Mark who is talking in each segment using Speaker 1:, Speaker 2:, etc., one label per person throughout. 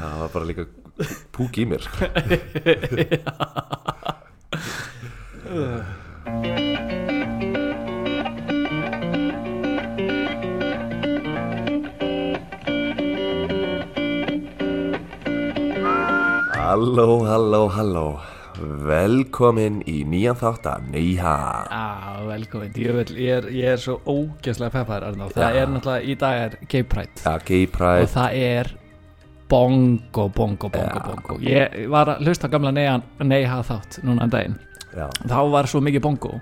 Speaker 1: það er bara líka púk í mér Halló, halló, halló Velkomin í nýjan þátt að Neiha
Speaker 2: Já, velkomin, djöfull, ég er, ég er svo ógeðslega peppaður Arnóð Það
Speaker 1: Já.
Speaker 2: er náttúrulega, í dag er Cape Pride
Speaker 1: Ja, gay
Speaker 2: Og
Speaker 1: pride
Speaker 2: það er bongo, bongo, bongo, bongo Ég var að hlusta á gamla neyha, neyha þátt núna en daginn
Speaker 1: Já,
Speaker 2: Þá var svo mikið bongo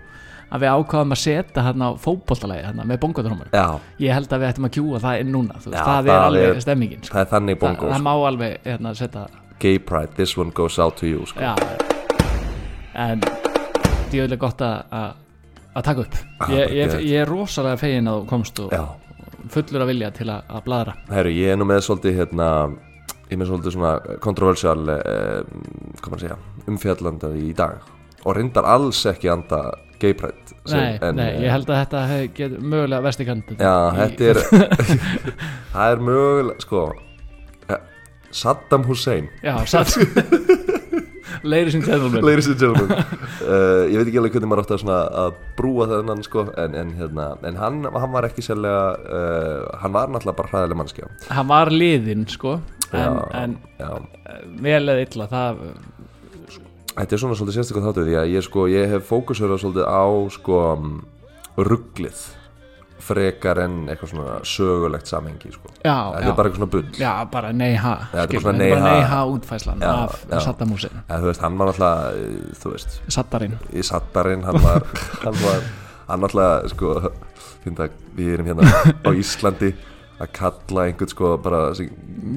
Speaker 2: að við ákvaðum að setja hérna á fótboltalagi hérna með bongodrómur
Speaker 1: já
Speaker 2: Ég held að við ættum að kjúa það inn núna, þú veist,
Speaker 1: Já,
Speaker 2: það,
Speaker 1: það
Speaker 2: er alveg
Speaker 1: er-
Speaker 2: stemmingin sko.
Speaker 1: það er þannig bongo
Speaker 2: það,
Speaker 1: sko.
Speaker 2: það má alveg hérna setja það
Speaker 1: Gay pride, this one goes out to you sko.
Speaker 2: Já En djöðlega gott að- að að taka upp
Speaker 1: Ah,
Speaker 2: ég,
Speaker 1: bara
Speaker 2: ég,
Speaker 1: geðveikt.
Speaker 2: ég er rosalega fegin að þú komst og
Speaker 1: Já,
Speaker 2: fullur að vilja til að, að bladra
Speaker 1: herru, ég er nú með svolítið hérna Ég er með svolítið svona kontroversial eh, Hvað maður að segja Umfjallandað í dag Og reyndar alls ekki anda gay pride
Speaker 2: Nei,
Speaker 1: sem- en,
Speaker 2: nei,
Speaker 1: eh,
Speaker 2: ég held að þetta hef get, mögulega vesti kandin
Speaker 1: Já, þetta er Það er mögulega, sko eh, Saddam Hussein
Speaker 2: Já, satt Leiri sem tjæðum
Speaker 1: Ladies and gentlemen uh, Ég veit ekki alveg hvernig maður átti að, svona, að brúa þennan sko, en, en, hérna, en hann, hann var ekki sérlega uh, Hann var náttúrulega bara hræðileg mannskja
Speaker 2: Hann var liðinn, sko En, en
Speaker 1: já.
Speaker 2: eh, vel eða illa það,
Speaker 1: Þetta er svona svolítið sérstaklega þáttu því að ég, sko, ég hef fókusverða svolítið á sko, rugglið frekar en eitthvað svona sögulegt samhengi sko.
Speaker 2: Já,
Speaker 1: Þetta
Speaker 2: já,
Speaker 1: er bara eitthvað svona bull
Speaker 2: já, bara neyha
Speaker 1: þetta er bara svona
Speaker 2: bara
Speaker 1: nei
Speaker 2: neyha
Speaker 1: ha.
Speaker 2: útfæslan
Speaker 1: Já,
Speaker 2: af
Speaker 1: já.
Speaker 2: Sattamúsin
Speaker 1: En þú veist, hann var náttúrulega, eh, þú veist,
Speaker 2: Sattarinn
Speaker 1: í sattarinn hann var, hann var hann alltaf sko finna, við erum hérna á Íslandi að kalla einhvern sko bara sem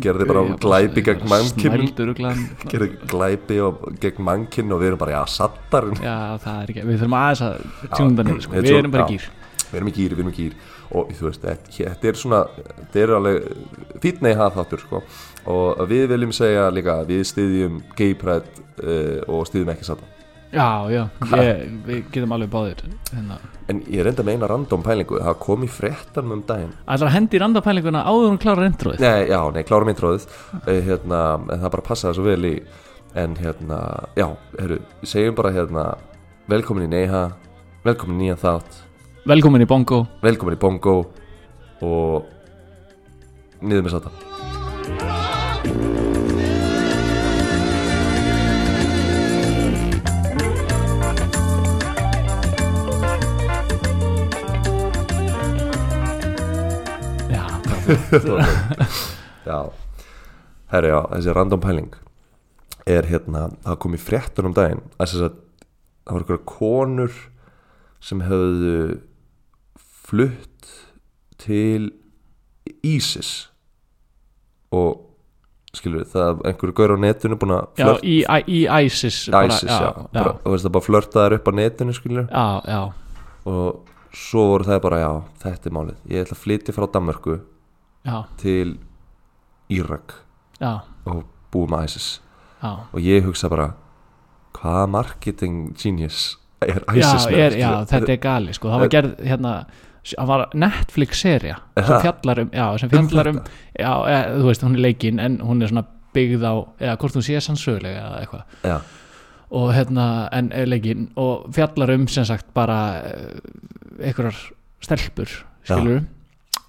Speaker 1: gerði bara glæpi gegn mannkinn
Speaker 2: Snældur og glæm
Speaker 1: gerði glæpi og gegn mannkinn og við erum bara já sattarinn
Speaker 2: Já, það er ekki, við þurfum aðeins að tjúnda niður, sko.
Speaker 1: ég
Speaker 2: við
Speaker 1: trú-
Speaker 2: erum bara
Speaker 1: já.
Speaker 2: gýr
Speaker 1: við erum í gýr, við erum í gýr og þú veist, þetta- þetta er svona þetta er alveg fítnei hafþáttur sko og við viljum segja líka að við styðjum gay pride uh, og styðjum ekki sattar
Speaker 2: Já, já, ég, við getum alveg báðir hérna.
Speaker 1: en ég reynda með eina random pælingu það kom í fréttanum um daginn
Speaker 2: Ætlar að hendi í randapælinguna áður hún klárar intróið
Speaker 1: Nei, já, nei, klárum intróðið uh, hérna, en það bara passaði svo vel í en hérna, já, herru segjum bara hérna, velkomin í Neiha velkomin í nýjan þátt
Speaker 2: Velkomin í Bongo
Speaker 1: velkomin í Bongo og niður með satan
Speaker 2: Já, bara-
Speaker 1: Já, herru, já, þessi random pæling er hérna, það kom í fréttunum um daginn að þess að það voru einhverja konur sem höfðu flutt til ISIS og skilur við, það einhverju gaur á netinu búin að
Speaker 2: já
Speaker 1: flört
Speaker 2: í, í ISIS bara-
Speaker 1: ISIS, já,
Speaker 2: já,
Speaker 1: bara, þú veist það bara flörtaðar upp á netinu skilur
Speaker 2: já, já.
Speaker 1: og svo voru það bara, já, þetta er málið ég ætla að flytja frá Danmörku
Speaker 2: já,
Speaker 1: til Írak
Speaker 2: já,
Speaker 1: og búið með ISIS
Speaker 2: já.
Speaker 1: og ég hugsa bara hvaða marketing genius er
Speaker 2: Já,
Speaker 1: ISIS Eh- með,
Speaker 2: er,
Speaker 1: skilur?
Speaker 2: já, þetta er gali sko. það var gerð hérna það var Netflix-seria sem
Speaker 1: það?
Speaker 2: fjallar um, já, sem fjallar um já, e, þú veist, hún er leikinn en hún er svona byggð á, eða hvort hún sé sannsögulega eða eitthvað
Speaker 1: já,
Speaker 2: og hérna en er leikinn og fjallar um sem sagt bara eh, einhverjar stelpur skilur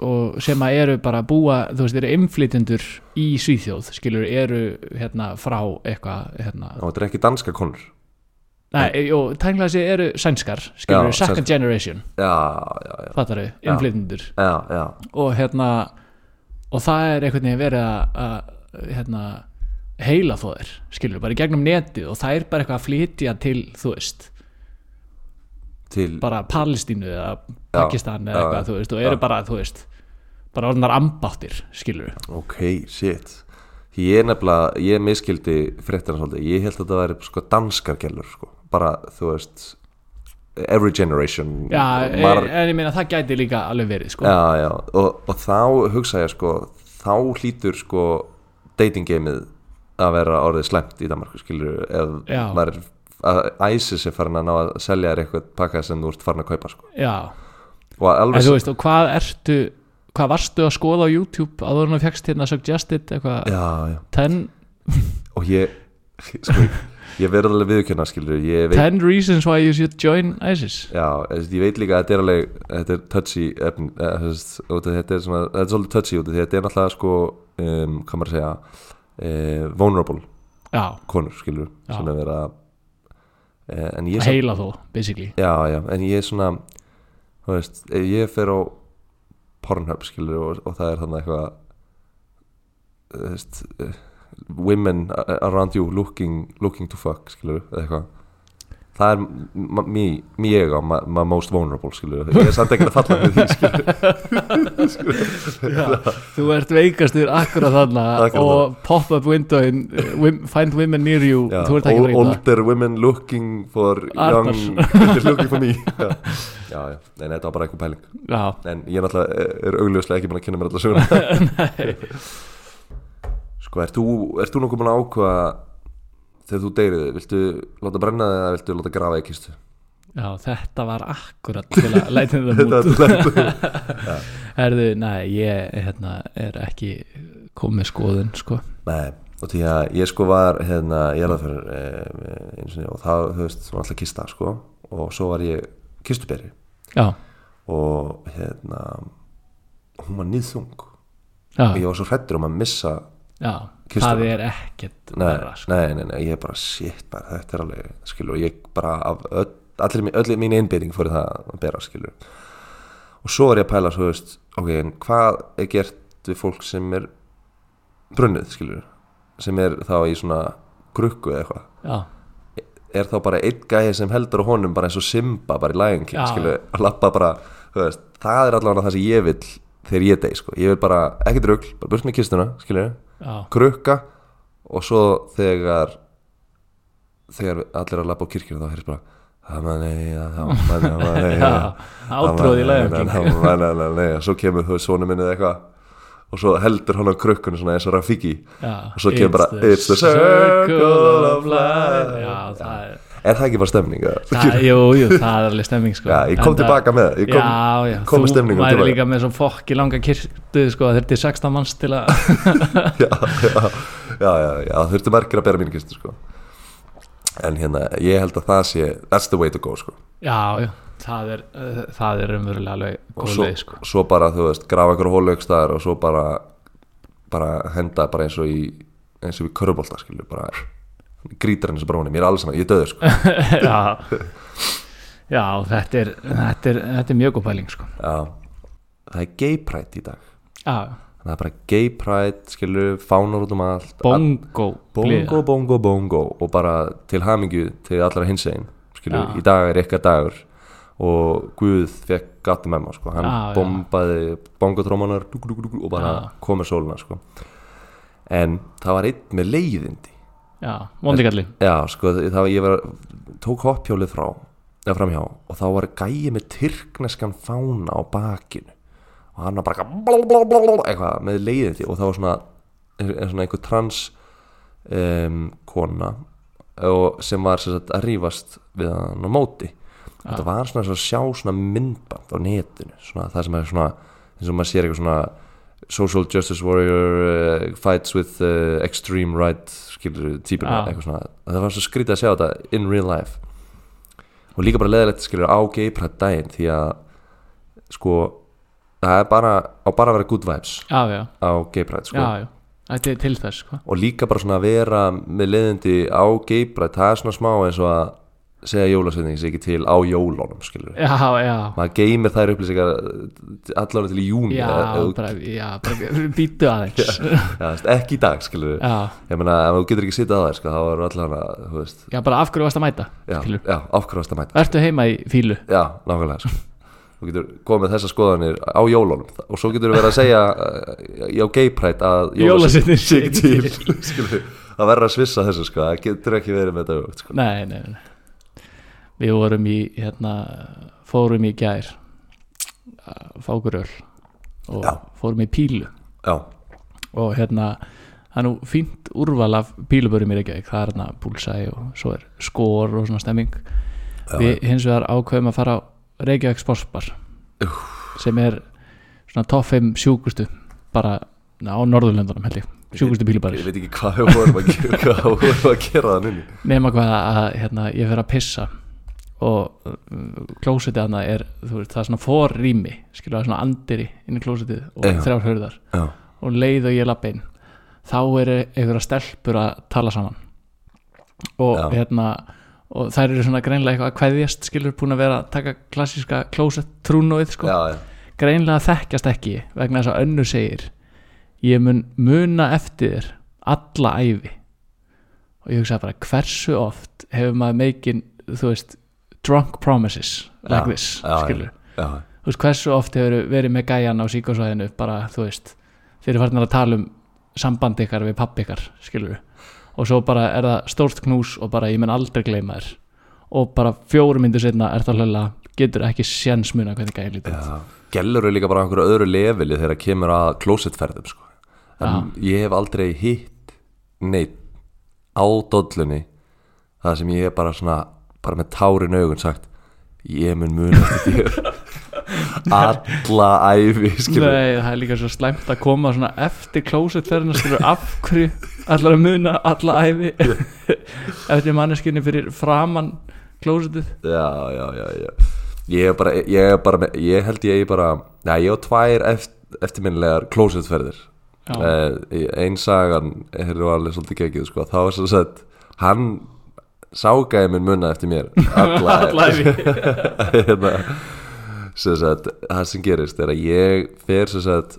Speaker 2: og sem að eru bara að búa þú veist eru innflytjendur í Svíþjóð skilur eru hérna frá eitthvað hérna
Speaker 1: og þetta er ekki danska konur
Speaker 2: nei, jú, tæknilega sé eru sænskar skilur
Speaker 1: Já,
Speaker 2: second
Speaker 1: sænskar.
Speaker 2: generation
Speaker 1: já, já, já,
Speaker 2: fattar við, innflytjendur
Speaker 1: já, já.
Speaker 2: og hérna og það er einhvern veginn verið að, að hérna heila þóðir, skilur, bara í gegnum netið og það er bara eitthvað að flytja til, þú veist
Speaker 1: til,
Speaker 2: bara Palestínu eða Pakistan eða
Speaker 1: já,
Speaker 2: eitthvað,
Speaker 1: já,
Speaker 2: þú veist, og eru bara, þú veist bara orðnar ambáttir, skilur
Speaker 1: ok, shit Því ég er nefnilega, ég miskildi fréttina svolítið, ég held að þetta væri sko danskar gælur, sko, bara, þú veist every generation
Speaker 2: Já,
Speaker 1: mar-
Speaker 2: en, en ég meina það gæti líka alveg verið, sko
Speaker 1: já, já. Og, og þá hugsa ég sko þá hlýtur sko dating gameið að vera orðið slæmt í Danmarku skilur ef
Speaker 2: Já.
Speaker 1: maður er- að ISIS er farin að ná að selja þér eitthvað pakka sem þú ert farin að kaupa sko.
Speaker 2: Já,
Speaker 1: og alveg
Speaker 2: en þú veist, og hvað ertu hvað varstu að skoða á YouTube áður en þú fegst hérna suggested eitthvað
Speaker 1: já, já,
Speaker 2: 10
Speaker 1: og ég sko, ég verður alveg viðkjöna skilur ég veit,
Speaker 2: 10 reasons why you should join ISIS
Speaker 1: já, þú veist, ég veit líka að þetta er alveg þetta er touchy efn, eða, þú veist, út af þetta er svona, þetta er svolítið touchy út af því að þetta er náttúrulega sko um, hvað maður að segja uh, vulnerable
Speaker 2: Já,
Speaker 1: konur skilur
Speaker 2: Já.
Speaker 1: sem er verið að uh, en ég
Speaker 2: heila þó, basically
Speaker 1: já, já, en ég er svona þú veist, ef ég fer á Pornhub skilur og, og það er þannig eitthvað þú veist eh, women a- around you looking, looking to fuck skilur, eða eitthvað það er m- m- mý- mý ég á ma- ma- most vulnerable skilur, ég er samt ekkert að falla með því skilur,
Speaker 2: Já, þú ert veikastur akkurat þarna
Speaker 1: Akkurat
Speaker 2: og pop up windowin uh, wim- find women near you,
Speaker 1: já,
Speaker 2: þú ert ekki að
Speaker 1: ol-
Speaker 2: reyta
Speaker 1: older women looking for
Speaker 2: Arnar.
Speaker 1: young, they're looking for me já, já, já, en þetta var bara eitthvað pæling
Speaker 2: Já,
Speaker 1: En ég náttúrulega eh, er augljóslega ekki búin að kynna mér alla söguna Sko, ert þú, ert þú nokkuð búin að ákvaða þegar þú deyrið, viltu láta brenna þig eða viltu láta grafa í kistu?
Speaker 2: já, þetta var akkurat til að læta það
Speaker 1: Þetta
Speaker 2: út
Speaker 1: er lent-
Speaker 2: Herðu, nei, ég hérna, er ekki komið skoðun, sko
Speaker 1: Nei, og því að ég sko var hérna, ég er það fyrir eins og, og það, þú veist, var alltaf kista, sko og svo var ég kistuberi
Speaker 2: Já,
Speaker 1: og hérna hún var nýðþung og
Speaker 2: já,
Speaker 1: ég var svo hrættur um að missa
Speaker 2: já
Speaker 1: Kistuna.
Speaker 2: það er ekkert
Speaker 1: nei,
Speaker 2: verra, sko.
Speaker 1: nei, nei, nei, ég er bara shit bara, þetta er alveg, skilur, og ég bara af öll, allir, mín- öll mín einbyrðing fór í það að bera, skilur og svo er ég að pæla, svo veist, ok, en hvað er gert við fólk sem er brunnið, skilur sem er þá í svona krukku eða eitthvað
Speaker 2: Já,
Speaker 1: er þá bara einn gæði sem heldur á honum bara eins og Simba, bara í Lion King,
Speaker 2: Já.
Speaker 1: skilur að lappa bara, þú veist, það er allavega það sem ég vil þegar ég dey, sko ég vil bara, ekki drugl, bara burt með kistuna, skilur
Speaker 2: já,
Speaker 1: krukka og svo þegar þegar allir að lappa á kirkjuna þá heyrðist bara
Speaker 2: já Átróð í lægum
Speaker 1: lægum svo kemur þú sonu minni eða eitthvað og svo heldur hann á krukkunni svona eins og Rafiki
Speaker 2: Og
Speaker 1: svo kemur bara, "It's the circle of life."
Speaker 2: Já, það er
Speaker 1: er það ekki bara stemning? eða?
Speaker 2: Það, jú, jú, það er alveg stemming sko.
Speaker 1: Já, ég kom
Speaker 2: Enda-
Speaker 1: tilbaka með það, ég kom-
Speaker 2: Já, já,
Speaker 1: kom með
Speaker 2: þú
Speaker 1: stemningum
Speaker 2: væri
Speaker 1: tilbaka.
Speaker 2: líka með svo fokki langa kirtu sko, þetta er 16 manns til að
Speaker 1: já, já, já, já, já þurftu merkir að bera mínu kistu sko. en hérna, ég held að það sé that's the way to go sko.
Speaker 2: Já, já, það er uh, það er umverulega alveg
Speaker 1: og
Speaker 2: góð
Speaker 1: svo,
Speaker 2: leið sko.
Speaker 1: svo bara þú veist grafa einhverju hólu ykkur staðar og svo bara bara henda bara eins og í eins og í körubólta skilju bara grítar henni sem bara honum, ég er alls saman, ég er döður sko.
Speaker 2: Já Já, þetta er þetta er, þetta er mjög góð pæling sko.
Speaker 1: já, það er gay pride í dag
Speaker 2: Já,
Speaker 1: það er bara gay pride skilju, fánar út um allt
Speaker 2: bongo
Speaker 1: bongo, bongo, bongo og bara til hamingju til allra hinsegin skilju,
Speaker 2: Já.
Speaker 1: í dag er eitthvað dagur og Guð fekk gata með maður sko. hann
Speaker 2: Já, já.
Speaker 1: bombaði bongotrómanar dúk, dúk, dúk, og bara
Speaker 2: Já.
Speaker 1: komið sólina sko. en það var einn með leiðindi
Speaker 2: Já, vondigallin
Speaker 1: já, sko, það var ég var, tók hoppjólið frá eða framhjá og þá var gæið með tyrkneskan fána á bakinu og hann var bara eitthvað blá, blá, blá, blá, eitthvað með leiðindi og það var svona, er- svona einhver trans um, kona og, sem var sem sagt, að rífast við hann á móti og það var svona eins og að sjá svona myndband á netinu svona það sem er svona eins og maður sér eitthvað svona social justice warrior uh, fights with uh, extreme right skilur típuna
Speaker 2: Já.
Speaker 1: eitthvað svona og það var svo skrítið að sjá þetta in real life og líka bara leðilegt skilur á geiprætt daginn því að sko það er bara á bara að vera good vibes
Speaker 2: Já, já,
Speaker 1: á geiprætt sko
Speaker 2: já, já Þetta er til þess sko.
Speaker 1: og líka bara svona að vera með leðindi á geiprætt það er svona smá eins og að segja jólasveitingi sig ekki til á jólunum skilur
Speaker 2: Já, já
Speaker 1: maður geymir þær upplýsingar allavega til í júni
Speaker 2: Já,
Speaker 1: eða- eða-
Speaker 2: bara, já, bara býtu aðeins
Speaker 1: Já, þú veist, ekki í dag skilur
Speaker 2: Já,
Speaker 1: Ég meina, ef þú getur ekki sitað á þær, sko, þá er allan að, þú veist,
Speaker 2: já, bara af hverju varst að mæta
Speaker 1: já,
Speaker 2: skilur.
Speaker 1: já, ákvæmast að mæta.
Speaker 2: Ertu heima í fílu
Speaker 1: Já, nákvæmlega, sko. Þú getur komið með þessa skoðanir á jólunum og svo getur þú verið að segja uh, á geiprætt að
Speaker 2: Jólasveinninn
Speaker 1: sé ekki
Speaker 2: sé ekki
Speaker 1: til, skilur Það verður að svissa þessu, sko, það getur ekki verið með þetta öfugt, sko.
Speaker 2: Nei, nei, nei Við vorum í, hérna fórum í gær að fá okkur öll og
Speaker 1: Já.
Speaker 2: fórum í pílu
Speaker 1: Já,
Speaker 2: og hérna það er nú fínt úrval af pílubörum í Reykjavík það er hérna púlsæ og svo er skor og svona stemming við hins vegar ákveðum að fara á Reykjavík Sportsbar sem er svona topp 5 sjúkustu bara á Norðurlöndunum held ég sjúkustu
Speaker 1: ég
Speaker 2: pílubarir
Speaker 1: veit ekki hvað við vorum að gera hvað við vorum að gera þannig inni.
Speaker 2: nema hvað að hérna, ég fer að pissa og uh, klósetið hana er þú veist, það er svona forrými skilur það er svona andiri inn í klósetið og
Speaker 1: Já.
Speaker 2: þrjár hörðar
Speaker 1: já,
Speaker 2: og leið og ég lappa inn þá er einhverja stelpur að tala saman og
Speaker 1: Já.
Speaker 2: hérna og þær eru svona greinlega eitthvað að kveðjast skilur búin að vera að taka klassíska klósett trúnóið sko,
Speaker 1: já, já,
Speaker 2: greinlega þekkjast ekki vegna þess að önnu segir ég mun muna eftir þér alla æfi og ég hugsaði bara hversu oft hefur maður meikin, þú veist drunk promises like
Speaker 1: Já,
Speaker 2: this
Speaker 1: já, já.
Speaker 2: skilur,
Speaker 1: já,
Speaker 2: þú veist hversu oft hefur verið með gæjan á síkosvæðinu bara, þú veist, þeir eru farnar að tala um samband ykkar við papp ykkar skilur, og svo bara er það stórt knús og bara ég mun aldrei gleyma þér og bara fjórum myndu setna er það hlöla, getur ekki sjensmuna hvernig gæjan lítur
Speaker 1: já. gellur er líka bara á einhverju öðru leveli þegar kemur að klósettferðum sko. en ég hef aldrei hitt neitt á dollunni það sem ég er bara svona bara með tárin augun sagt ég mun muna eftir þér alla æfi skilur
Speaker 2: Nei, það er líka svo slæmt að koma svona eftir klósetferðina skilur af hverju allar að muna alla æfi eftir manneskinni fyrir framann klósetið
Speaker 1: já, já, já, já. Ég, er bara, ég, er bara, með- ég held ég eigi bara já, ég á tvær eft, eftirminnilegar klósetferðir
Speaker 2: Já,
Speaker 1: uh, ein sagan er alveg svolítið gekið sko. þá var sem sagt hann ságaði minn munna eftir mér alla,
Speaker 2: alla æfi
Speaker 1: hérna, sem sagt, það sem gerist er að ég fer sem sagt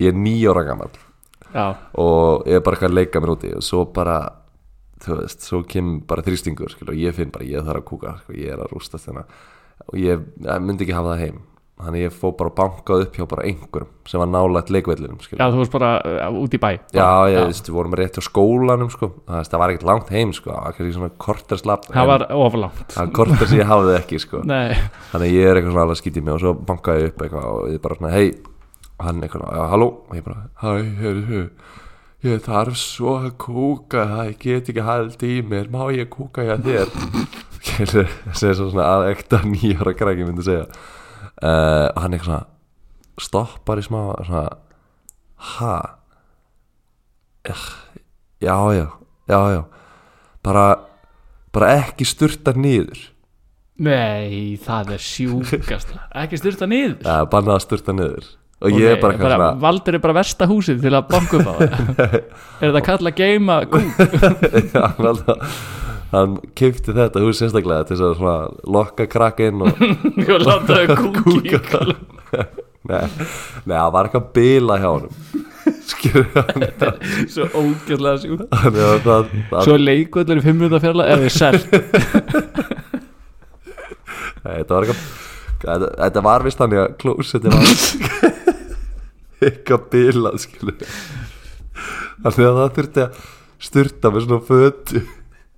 Speaker 1: ég er nýjóra gammal
Speaker 2: Já,
Speaker 1: og ég er bara eitthvað að leika mér úti og svo bara þú veist, svo kemur bara þrýstingur skilur, og ég finn bara, ég þarf að kúka sko, ég er að rústa þennan og ég, ég myndi ekki hafa það heim þannig ég fó bara bankað upp hjá bara einhverjum sem var nálægt leikvellinum skilur.
Speaker 2: já þú veist bara uh, út í bæ
Speaker 1: já, ég, þú veist, við vorum rétt á skólanum sko. það, veist, það var ekkert langt heim sko. það var kannski svona korterslapp
Speaker 2: Það var oflangt
Speaker 1: það korter sem ég hafði ekki sko.
Speaker 2: Nei,
Speaker 1: þannig að ég er eitthvað svona alveg að skýti mig og svo bankaði ég upp eitthvað og ég bara svona hei og hann eitthvað, já, halló og ég bara, hæ, heyrðu ég þarf svo að kúka það ég get ekki haldið í mér, má ég kúka hjá þér segir svo svona að ekta nýjára krakki myndi segja uh, og hann eitthvað svona stoppar í smá svona, ha Ugh, já, já, já, já bara, bara ekki sturtar nýður
Speaker 2: nei, það er sjúkast Ekki styrta niður
Speaker 1: Já, bannað að sturta niður Og ég er bara eitthvað svona
Speaker 2: Valdur er bara versta húsið til að banka upp á það Er þetta kalla geima kúk?
Speaker 1: hann, alltaf, hann kipti þetta hús sérstaklega til þess að svona lokka krakka inn og
Speaker 2: og láta þau kúki
Speaker 1: Nei, nei, það var eitthvað bila hjá honum Skilur hann
Speaker 2: Svo ógæðlega sjúkt
Speaker 1: Þannig að það, það
Speaker 2: Svo er leikvöllur í 5 minúta fjarlag eða er selt
Speaker 1: nei, Þetta var eitthvað Þetta, þetta var vist þannig að klósetti var eitthvað bila skilur Þannig að það þurfti að sturta með svona fötu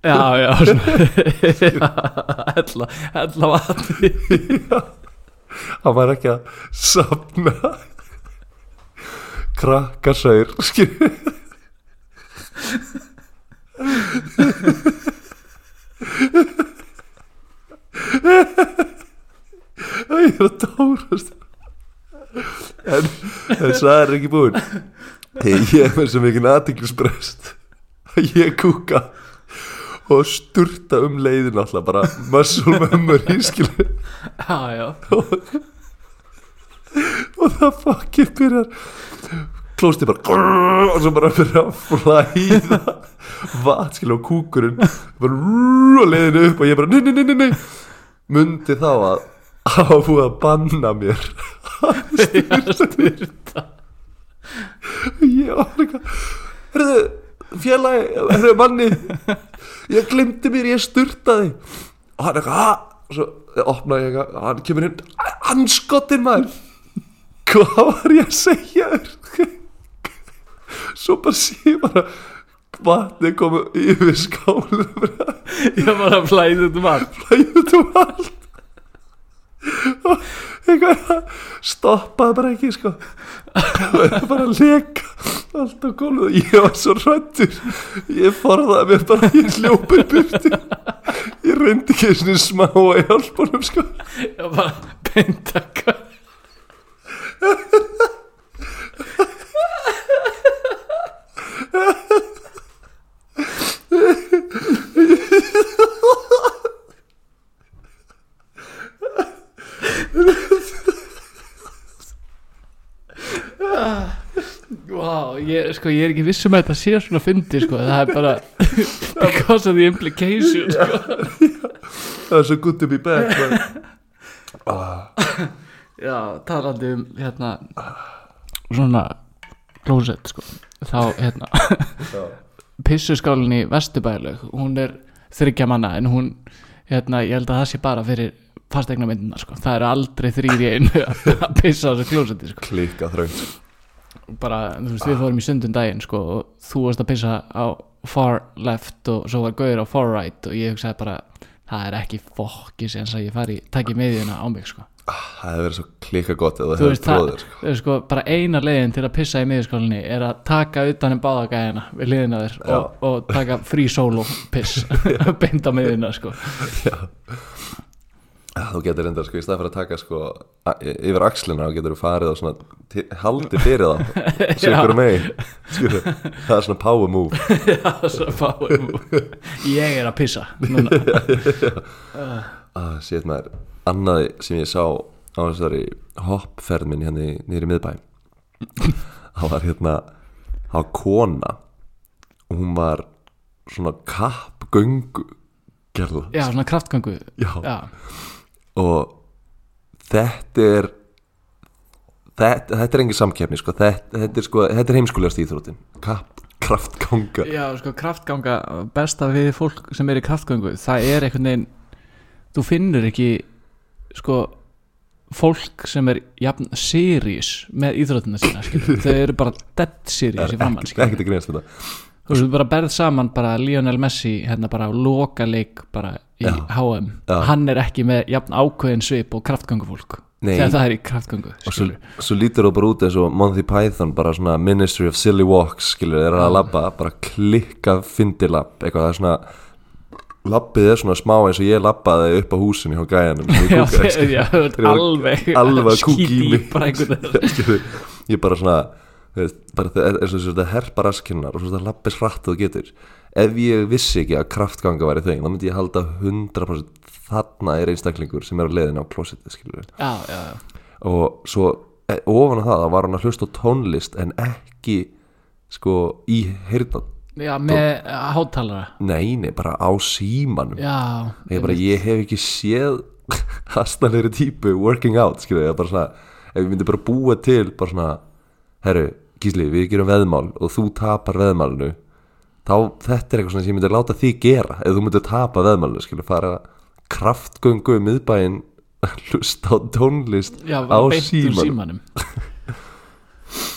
Speaker 2: Já, já Hella, hella vatni
Speaker 1: hann var ekki að safna krakkasaur skilur Æ, ég er að tárast en, en það er ekki búin ég er með svo mikið aðtiklisbrest að ég kúka og sturta um leiðin alltaf bara muscle memory skilur
Speaker 2: Já, já
Speaker 1: og það fokkir byrjar klósti bara grrr, og svo bara byrja að flæða vat skilja á kúkurinn bara rrr, og leiðinu upp og ég bara nei, nei, nei, nei, nei mundi þá að að hafa búið að banna mér
Speaker 2: Styrta
Speaker 1: ég var eitthvað herðu, félagi, herðu manni ég glimti mér, ég sturtaði og hann eitthvað, ha og svo opnaði ég eitthvað, og hann kemur inn anskotin maður hvað var ég að segja þér svo bara sé ég bara vatni komu yfir skálu bara
Speaker 2: Ég var að flæða þetta vatn
Speaker 1: flæði út um allt og eitthvað stoppaði bara ekki sko bara leka allt á gólfið og ég var svo rættur ég forðaði mér bara ég hljópið burti ég reyndi ekki svona smá að hjálpa honum sko
Speaker 2: Ég var bara beint að kö- sko, ég er ekki viss um að þetta sé svona fyndi sko, það er bara because of the implication sko.
Speaker 1: það er svo good to be back man. ah,
Speaker 2: já, talandi um hérna svona closet sko, þá hérna
Speaker 1: já.
Speaker 2: pissuskálin í Vesturbælaug hún er þryggja manna en hún, hérna, ég held að það sé bara fyrir fastegna myndina, sko, það eru aldrei þrýr í einu að pissa á þessu klósetti, sko
Speaker 1: klikka þröngt
Speaker 2: bara, þú veist, við fórum í sundum daginn, sko og þú varst að pissa á far left og svo var Gauður á far right og ég hugsaði bara, það er ekki fokkis eins að ég fari, takk í miðjuna á mig, sko
Speaker 1: ah, það hefur verið svo klikka gott ef það
Speaker 2: þú
Speaker 1: hefur
Speaker 2: veist, það,
Speaker 1: tróður
Speaker 2: það er sko, bara eina leiðin til að pissa í miðjuskólinni er að taka utan um báðagæðina við liðina þér og, og taka frí solo piss beint á miðjuna sko.
Speaker 1: þú getur enda sko í stað fyrir að taka sko a- y- yfir axlina og getur þú farið og svona ti- haldið fyrir það svo ykkur megin Skilur, það er svona power move
Speaker 2: Svo fáum við- ég er að pissa núna.
Speaker 1: ah, sétt maður, annað sem ég sá á þessari hoppferð minn hérna í- niður í miðbæ það var hérna það var kona og hún var svona kappgöngu gerða
Speaker 2: já, svona kraftgangu
Speaker 1: Já.
Speaker 2: já,
Speaker 1: og þetta er þetta, þetta er engin samkeppni sko. þetta, þetta er, sko, þetta er heimskulegast íþróttin kapp, kraftganga
Speaker 2: já, sko kraftganga besta við fólk sem er í kraftgangu það er einhvern veginn þú finnur ekki sko fólk sem er jafn serious með íþróttina sína skilur. þau eru bara dead serious í framann
Speaker 1: ekkert ekkert að greinast við það
Speaker 2: þú veist, bara berð saman bara Lionel Messi hérna bara á loka leik bara í
Speaker 1: Já.
Speaker 2: HM
Speaker 1: Já.
Speaker 2: hann er ekki með jafn ákveðin svip og kraftgöngu fólk
Speaker 1: Nei.
Speaker 2: þegar það er í kraftgöngu
Speaker 1: og svo,
Speaker 2: skilur.
Speaker 1: svo lítur það bara út eins og Monty Python bara svona Ministry of Silly Walks skilur, þeir eru að labba, bara klikka fyndilab, eitthvað það er svona labbið er svona smá eins og ég labbaði upp á húsinu hjá gæjanum sem ég
Speaker 2: já,
Speaker 1: kúkaði,
Speaker 2: þeir- já, þú ert
Speaker 1: Þeir eru
Speaker 2: alveg
Speaker 1: alveg að kúka í mig.
Speaker 2: bara einhvern veginn
Speaker 1: Skilur, ég bara svona þú veist, bara þe- eins og þessu þetta herpa raskinnar og svo þetta lappis hratt og þú getur ef ég vissi ekki að kraftganga væri þau þá myndi ég halda 100% þarna er einstaklingur sem er á leiðin á klósetti skilur.
Speaker 2: já, já, já.
Speaker 1: og svo e, ofan á það þá var hann að hlusta á tónlist en ekki sko í heyrna
Speaker 2: já, með eh, hátalara
Speaker 1: nei, nei, bara á símanum
Speaker 2: já,
Speaker 1: ég, bara, ég hef ekki séð hastalegri típu working out skilur, ég bara svona, ef ég myndi bara búa til bara svona, herru Gísli, við gerum veðmál og þú tapar veðmálinu þá þetta er eitthvað svona sem ég myndi láta þig gera ef þú myndi tapa veðmálinu, skilur, fara kraftgöngu um miðbæinn hlusta á tónlist
Speaker 2: já,
Speaker 1: á
Speaker 2: beint úr
Speaker 1: símanum
Speaker 2: símanum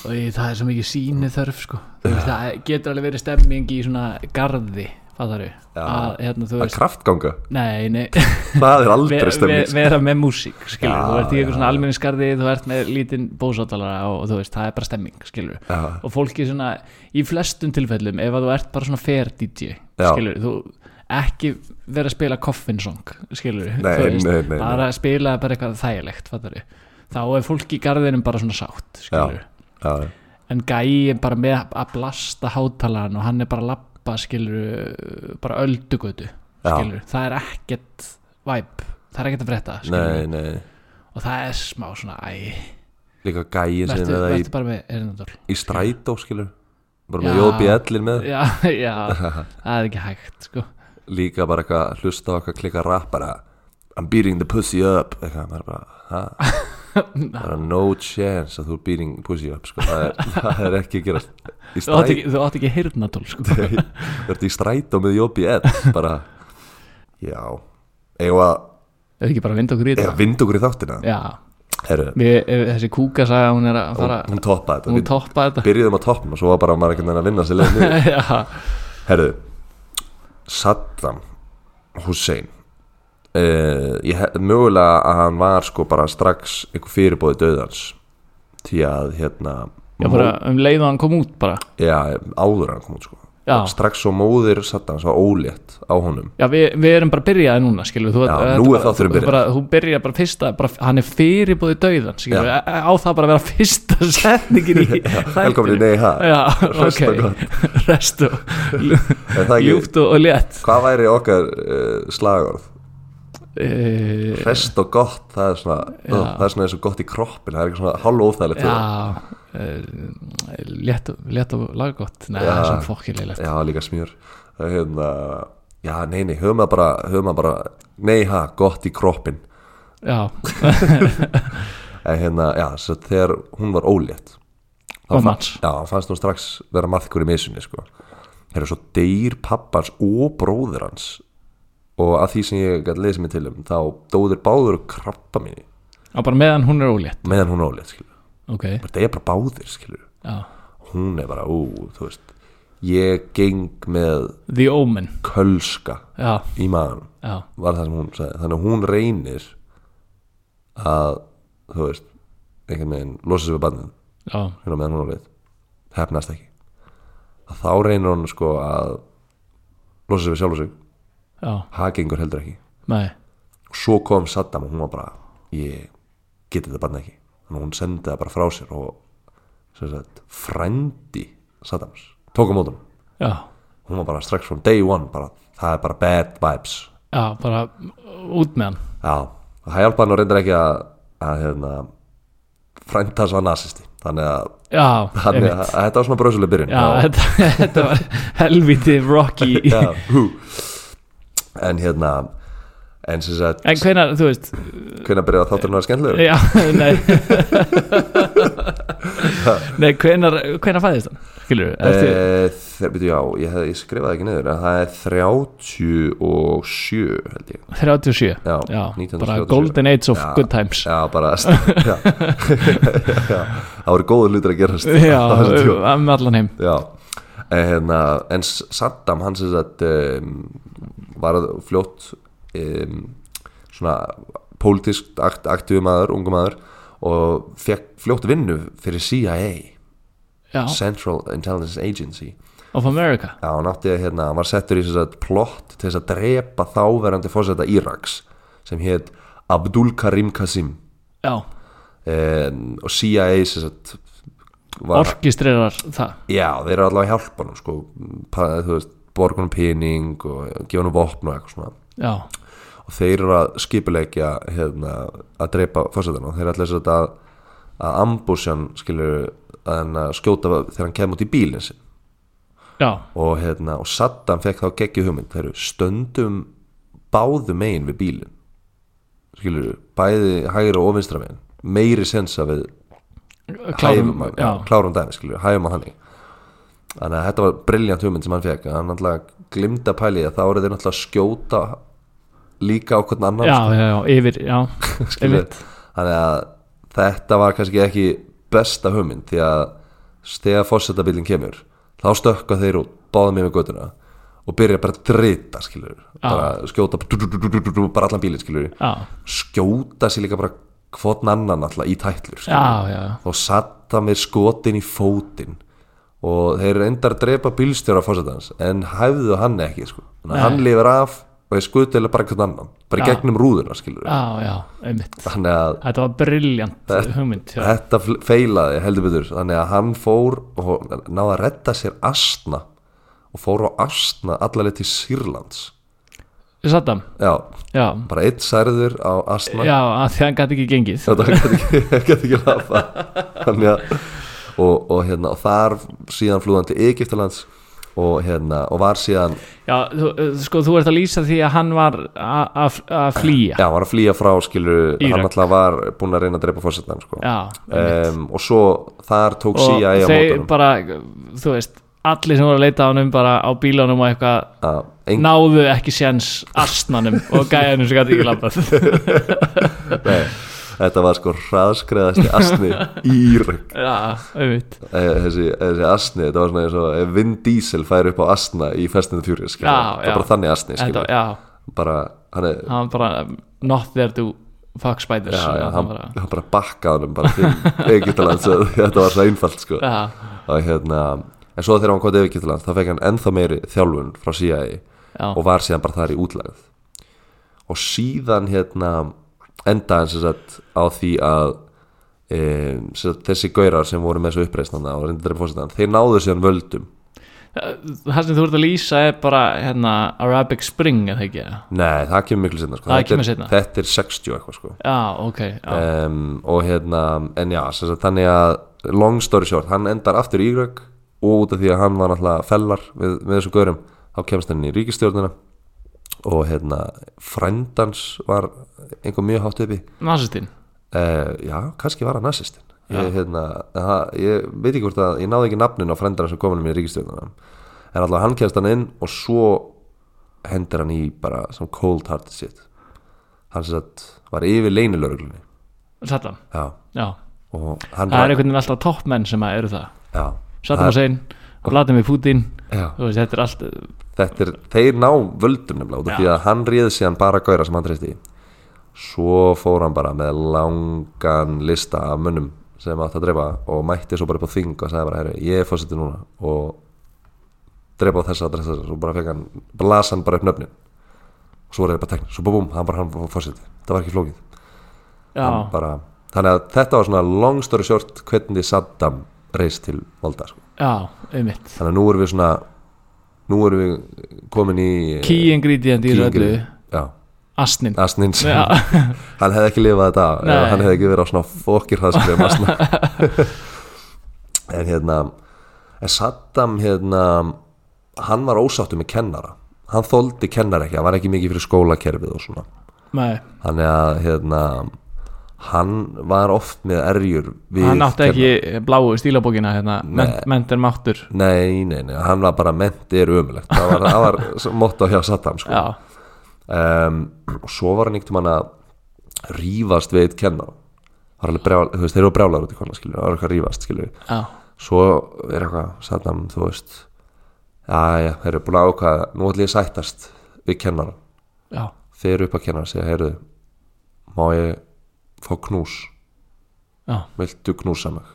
Speaker 2: og ég, það er svo mikið síni þörf sko. Þú veist, það getur alveg verið stemming í svona garði fattaru, að hérna, þú
Speaker 1: að
Speaker 2: veist
Speaker 1: kraftganga,
Speaker 2: Nei, nei,
Speaker 1: það er
Speaker 2: ver,
Speaker 1: aldrei
Speaker 2: ver,
Speaker 1: stemming sko.
Speaker 2: vera með músík skilur,
Speaker 1: Já,
Speaker 2: þú ert í
Speaker 1: já.
Speaker 2: eitthvað svona almenningskarði þú ert með lítinn bósáttalara og þú veist, það er bara stemming, skilur
Speaker 1: Já.
Speaker 2: og fólki svona, í flestum tilfellum ef að þú ert bara svona fair DJ
Speaker 1: Já.
Speaker 2: skilur, þú ekki vera að spila coffin song, skilur
Speaker 1: Nei, nei, nei, nei.
Speaker 2: bara að spila bara eitthvað þægilegt, fattar þá er fólki í garðinum bara svona sátt, skilur
Speaker 1: Já, já.
Speaker 2: en gæi er bara með að blasta hátalaran og hann er bara að lappa skilur bara öldugötu
Speaker 1: Já.
Speaker 2: skilur, það er ekkert væp, það er ekkert að frétta
Speaker 1: nei,
Speaker 2: skilur,
Speaker 1: nei
Speaker 2: og það er smá svona æ,
Speaker 1: líka gæin sem
Speaker 2: verður
Speaker 1: við það í,
Speaker 2: verður bara með erindadól
Speaker 1: í strætó skilur bara með
Speaker 2: Já.
Speaker 1: jóðbjallin með
Speaker 2: já, já, það er ekki hægt sko.
Speaker 1: líka bara eitthvað hlusta á eitthvað klikka rap bara I'm beating the pussy up eitthvað, maður bara, ha? bara no chance að þú er beating pussy up sko. það, er, það er ekki að gerast í
Speaker 2: þú átt
Speaker 1: stræt,
Speaker 2: ekki, þú átt ekki heyrnadól sko.
Speaker 1: þú ert í strætó með Jóbi Ed bara, já eða,
Speaker 2: er ekki bara að vinda okkur í
Speaker 1: eða
Speaker 2: þetta
Speaker 1: vind okkur í þáttina
Speaker 2: já,
Speaker 1: Heru,
Speaker 2: við, ef þessi kúka sagði hún er að fara,
Speaker 1: hún, hún toppa þetta
Speaker 2: hún
Speaker 1: við
Speaker 2: toppa þetta
Speaker 1: byrjuðum að toppa og svo var bara maður einhvern veginn að vinna sér leið niður.
Speaker 2: já,
Speaker 1: Herðu Saddam Hussein uh, ég, he- Mögulega að hann var sko bara strax einhver fyrirbóði döðans því að hérna
Speaker 2: já bara um leið og hann kom út bara
Speaker 1: já, áður en hann kom út sko
Speaker 2: já,
Speaker 1: strax svo móðir Saddams var ólétt á honum
Speaker 2: Já, við, við erum bara byrjaði núna, skilur þú,
Speaker 1: Já,
Speaker 2: þetta
Speaker 1: nú er
Speaker 2: bara-
Speaker 1: þátturinn
Speaker 2: þú-
Speaker 1: byrjaður.
Speaker 2: bara, Þú byrjaði bara fyrsta, bara, hann er fyrirbúði dauðan, skilur við, á það bara að vera fyrsta setningin í
Speaker 1: Velkomin í
Speaker 2: þættinum.
Speaker 1: Nei ha
Speaker 2: Já,
Speaker 1: Rest og
Speaker 2: ok,
Speaker 1: gott.
Speaker 2: restu,
Speaker 1: Er það ekki-
Speaker 2: ljúft og, og létt
Speaker 1: Hvað væri okkar uh, eh, slagorð?
Speaker 2: uh,
Speaker 1: Hrest og gott, það er svona
Speaker 2: Já.
Speaker 1: uh, Það er svona eins og gott í kroppin Það er ekki svona hálf óþægilegt
Speaker 2: Já uh, létt, létt og laggott Nei,
Speaker 1: Já.
Speaker 2: það er svona fokkilegt
Speaker 1: Já, líka smjör Það er hérna Já, nei, nei, höfum að bara, höfum að bara Nei, ha, gott í kroppin
Speaker 2: Já,
Speaker 1: En hérna, já, svo þegar hún var ólétt þá
Speaker 2: Var
Speaker 1: fa-
Speaker 2: mats.
Speaker 1: Já, fannst hún strax vera maðkur í misunni, sko Það eru svo deyr pappans og bróður hans Og að því sem ég gæti lesið mig til um Þá dóður báður og krabba minni
Speaker 2: á bara meðan hún er ólétt
Speaker 1: Meðan hún er ólétt, skilur
Speaker 2: Ok,
Speaker 1: Það er bara báðir, skilur
Speaker 2: já
Speaker 1: Hún er bara, ú, þú veist Ég geng með
Speaker 2: The Omen,
Speaker 1: kölska
Speaker 2: já,
Speaker 1: í maðanum
Speaker 2: já
Speaker 1: var það sem hún sagði þannig að hún reynir að þú veist einhvern veginn losa sig við barnið
Speaker 2: Já,
Speaker 1: hérna meðan hún er leitt hefnast ekki að þá reynir hún sko að losa sig við sjálf og sig
Speaker 2: já,
Speaker 1: það gengur heldur ekki
Speaker 2: nei,
Speaker 1: og svo kom Saddam og hún var bara ég geti þetta barnið ekki þannig að hún sendi það bara frá sér og sem sagt, frændi Saddams tók á mótum
Speaker 2: já
Speaker 1: hún var bara strax from day one bara, það er bara bad vibes
Speaker 2: Já, bara út með hann
Speaker 1: Já, og það hjálpa hann og reyndar ekki að, að hérna, frænda hans var nazisti þannig að,
Speaker 2: Já,
Speaker 1: þannig að,
Speaker 2: einmitt.
Speaker 1: að þetta var svona bröðsuleg byrjun
Speaker 2: Já, þetta, þetta var helviti Rocky
Speaker 1: já, hú. en hérna en sem sagt,
Speaker 2: En hvenær, þú veist
Speaker 1: hvernig byrjaði þátturinn að vera skemmtilegur?
Speaker 2: Já, nei Nei, hvenær, hvenær fæðist hann? Skilur við, eftir
Speaker 1: Eh, þeir- bíddu, já, ég, hef, ég skrifaði ekki niður en það er 37 held ég
Speaker 2: 37
Speaker 1: já,
Speaker 2: Já,
Speaker 1: 1937.
Speaker 2: bara golden age of
Speaker 1: Já.
Speaker 2: good times
Speaker 1: já, bara já. já, það voru góður hlutir að gerast
Speaker 2: Já,
Speaker 1: á þessum tíma.
Speaker 2: um, með allan heim
Speaker 1: Já, en, hérna, en S- Saddam hann sem sagt um, var að fljótt um, svona pólitískt akt, aktífi maður, ungu maður og fekk fljótt vinnu fyrir CIA
Speaker 2: Já,
Speaker 1: Central Intelligence Agency
Speaker 2: of America
Speaker 1: Já, hann átti að hérna, hann var settur í sem sagt plott til þess að drepa þáverandi fórseta Íraks sem hétt Abdul Karim Qasim
Speaker 2: Já,
Speaker 1: en, og CIA sem sagt var
Speaker 2: orkistreirar það
Speaker 1: Já, þeir eru allavega að hjálpa hann sko, pa, þú veist, borga hann pening og gefa hann vopn og eitthvað svona
Speaker 2: Já,
Speaker 1: og þeir eru að skipulegja hérna, að dreipa fórsetan og þeir eru allir þess að að ambusjan skilur að hann að skjóta þegar hann kemur út í bílinn sinn
Speaker 2: já,
Speaker 1: og, hérna, og Saddam fekk þá geggju hugmynd þeir eru stöndum báðu megin við bílinn skilur, bæði hægri og ofinstra megin meiri sensa við hæfum
Speaker 2: klárum
Speaker 1: hann, já,
Speaker 2: Já,
Speaker 1: klárum dæmi skilur, hæfum hann þannig þannig að þetta var brilljant hugmynd sem hann fekk hann náttúrulega glimta pælið að þá eru þeir náttúrulega að skjóta líka á hvern annan
Speaker 2: já, já, já, yfir, já
Speaker 1: skilur. þannig að þetta var kannski ekki besta hugmynd því að þegar fórsetabílinn kemur þá stökka þeir út, báða mér með göttuna og byrja bara að drita skilur, bara skjóta bara allan bílinn skilur,
Speaker 2: Já,
Speaker 1: skjóta sér líka bara hvern annan náttúrulega í tætlur skilur
Speaker 2: já, já,
Speaker 1: þá satta mér skotin í fótin og þeir reyndar að drepa bílstjóra fórsetans en hæfðu hann ekki sko. þannig
Speaker 2: Nei.
Speaker 1: að hann lifir af og er skutilega bara eitthvað annan bara í
Speaker 2: Já.
Speaker 1: gegnum rúðuna skilur
Speaker 2: já, já, einmitt
Speaker 1: þannig að
Speaker 2: Þetta var briljant hugmynd já.
Speaker 1: þetta fl- feilaði heldur betur þannig að hann fór og náði að redda sér astna og fór á astna allarleið til Sýrlands
Speaker 2: Saddam,
Speaker 1: já,
Speaker 2: já
Speaker 1: bara eitt særður á astna
Speaker 2: Já, að því hann gæti ekki gengið
Speaker 1: þetta gæti ekki, gæti ekki lafa þannig að og, og hérna og þar síðan flúðan til Egyptalands og hérna og var síðan,
Speaker 2: Já, þú, eh, sko, þú ert að lýsa því að hann var a- að að flýja
Speaker 1: já, var að flýja frá skilur,
Speaker 2: Írak.
Speaker 1: hann alltaf var búin að reyna að dreipa fórsetan sko.
Speaker 2: Já,
Speaker 1: um, og svo þar tók
Speaker 2: og
Speaker 1: CIA á
Speaker 2: þeir
Speaker 1: mótunum
Speaker 2: bara, þú veist Allir sem voru að leita á honum bara á bílunum og eitthvað
Speaker 1: að engin,
Speaker 2: náðu ekki séns astnanum og gæjanum sem gæti ekki labbað
Speaker 1: þetta var sko hraðskreðasti asni í Írak
Speaker 2: Já, auðvitað
Speaker 1: Eh, þessi, þessi asni, þetta var svona eins og ef Vin Diesel færi upp á asna í Fast and the Furious skilur,
Speaker 2: Já,
Speaker 1: það
Speaker 2: já.
Speaker 1: var bara þannig asni
Speaker 2: Þetta,
Speaker 1: skilur,
Speaker 2: já,
Speaker 1: bara, hann er
Speaker 2: hann var bara um, not there to fuck spiders
Speaker 1: já, já,
Speaker 2: hann
Speaker 1: hann,
Speaker 2: bara,
Speaker 1: hann bara bakkaði hann bara til Egyptalands þetta var svo einfalt sko
Speaker 2: já,
Speaker 1: og hérna, en svo þegar hann kom til Egyptalands þá fekk hann ennþá meiri þjálfun frá CIA
Speaker 2: já,
Speaker 1: og var síðan bara þar í útlæð og síðan hérna endaði hann sem sagt á því að e, sem sagt, þessi gaurar sem voru með þessu uppreisnana og reyndir þeir fórsetan, þeir náðu síðan völdum
Speaker 2: það sem þú ert að lýsa er bara hérna, Arabic Spring eða ekki já,
Speaker 1: Nei, það kemur miklu sinna sko.
Speaker 2: Það
Speaker 1: Þetta er-
Speaker 2: kemur seinna.
Speaker 1: Þetta er 60 og eitthvað sko.
Speaker 2: ok já,
Speaker 1: um, og hérna en já, sem sagt, þannig að long story short, hann endar aftur í Írak og út af því að hann var náttúrulega fellar við, með þessum gaurum, þá kemst hann inn í ríkistjórnina og hérna frændans var einhver mjög hátt uppi
Speaker 2: nasistinn
Speaker 1: uh, já, kannski var hann nazistin
Speaker 2: Já.
Speaker 1: ég, hérna, það, ég veit ekki hvort að ég náði ekki nafnin á frændana sem kominum í ríkistjórnina en allavega hann kemst hann inn og svo hendur hann í bara some cold hearted shit hann sem sagt var yfir leynilöruglunni
Speaker 2: Saddam,
Speaker 1: já
Speaker 2: já
Speaker 1: og hann
Speaker 2: það er einhvern veginn alltaf toppmenn sem að eru það
Speaker 1: já,
Speaker 2: Saddam Hussein, Vladimir Putin
Speaker 1: já,
Speaker 2: þú veist, þetta er allt
Speaker 1: þetta er, þeir ná völdum nefnilega út af
Speaker 2: Já.
Speaker 1: því að hann réði síðan bara gæra sem hann treysti í. svo fór hann bara með langan lista af mönnum sem átt að dreifa og mætti svo bara upp á þing og sagði bara, herri, ég er fórsetið núna og dreifa á þessa að dreifa þessa og bara fekk hann, las hann bara upp nöfnin og svo var þetta bara tekn, svo búm, búm, hann bara hann fórsetið, það var ekki flókið
Speaker 2: já,
Speaker 1: Hann bara, þannig að þetta var svona long story short hvernig Saddam reist til valda sko.
Speaker 2: já, auðvitað
Speaker 1: þannig að nú erum við svona nú erum við komin í
Speaker 2: key ingredient í
Speaker 1: key
Speaker 2: þessu öllu
Speaker 1: ingredient. Ah. já,
Speaker 2: asnin
Speaker 1: asnin sem,
Speaker 2: Já.
Speaker 1: hann hefði ekki lifað þetta af ef
Speaker 2: Nei.
Speaker 1: hann hefði ekki verið á svona fokkir hraðskriðum asna en hérna en Saddam hérna hann var ósáttu með kennara hann þóldi kennara ekki, hann var ekki mikið fyrir skólakerfið og svona,
Speaker 2: Nei,
Speaker 1: þannig að hérna hann var oft með erjur við
Speaker 2: hann átti
Speaker 1: kennara.
Speaker 2: ekki bláu stílabókina hérna, ment, ment er máttur
Speaker 1: nei, nei, nei, hann var bara menti er ömulegt, það var, það var motto hjá Saddam sko
Speaker 2: já,
Speaker 1: um, og svo var hann einhvern veginn að rýfast við eitt kennar var alveg brjál, þú veist, þeir eru brjálar út í konar skilur, það var eitthvað að rýfast skilur
Speaker 2: já,
Speaker 1: svo er eitthvað, Saddam, þú veist já, já, þeir eru búin að ákvaða nú ætlum ég að sættast við kennar
Speaker 2: já,
Speaker 1: þeir eru upp að kennar, segja, heyrðu má ég fá knús
Speaker 2: já
Speaker 1: viltu knúsa mig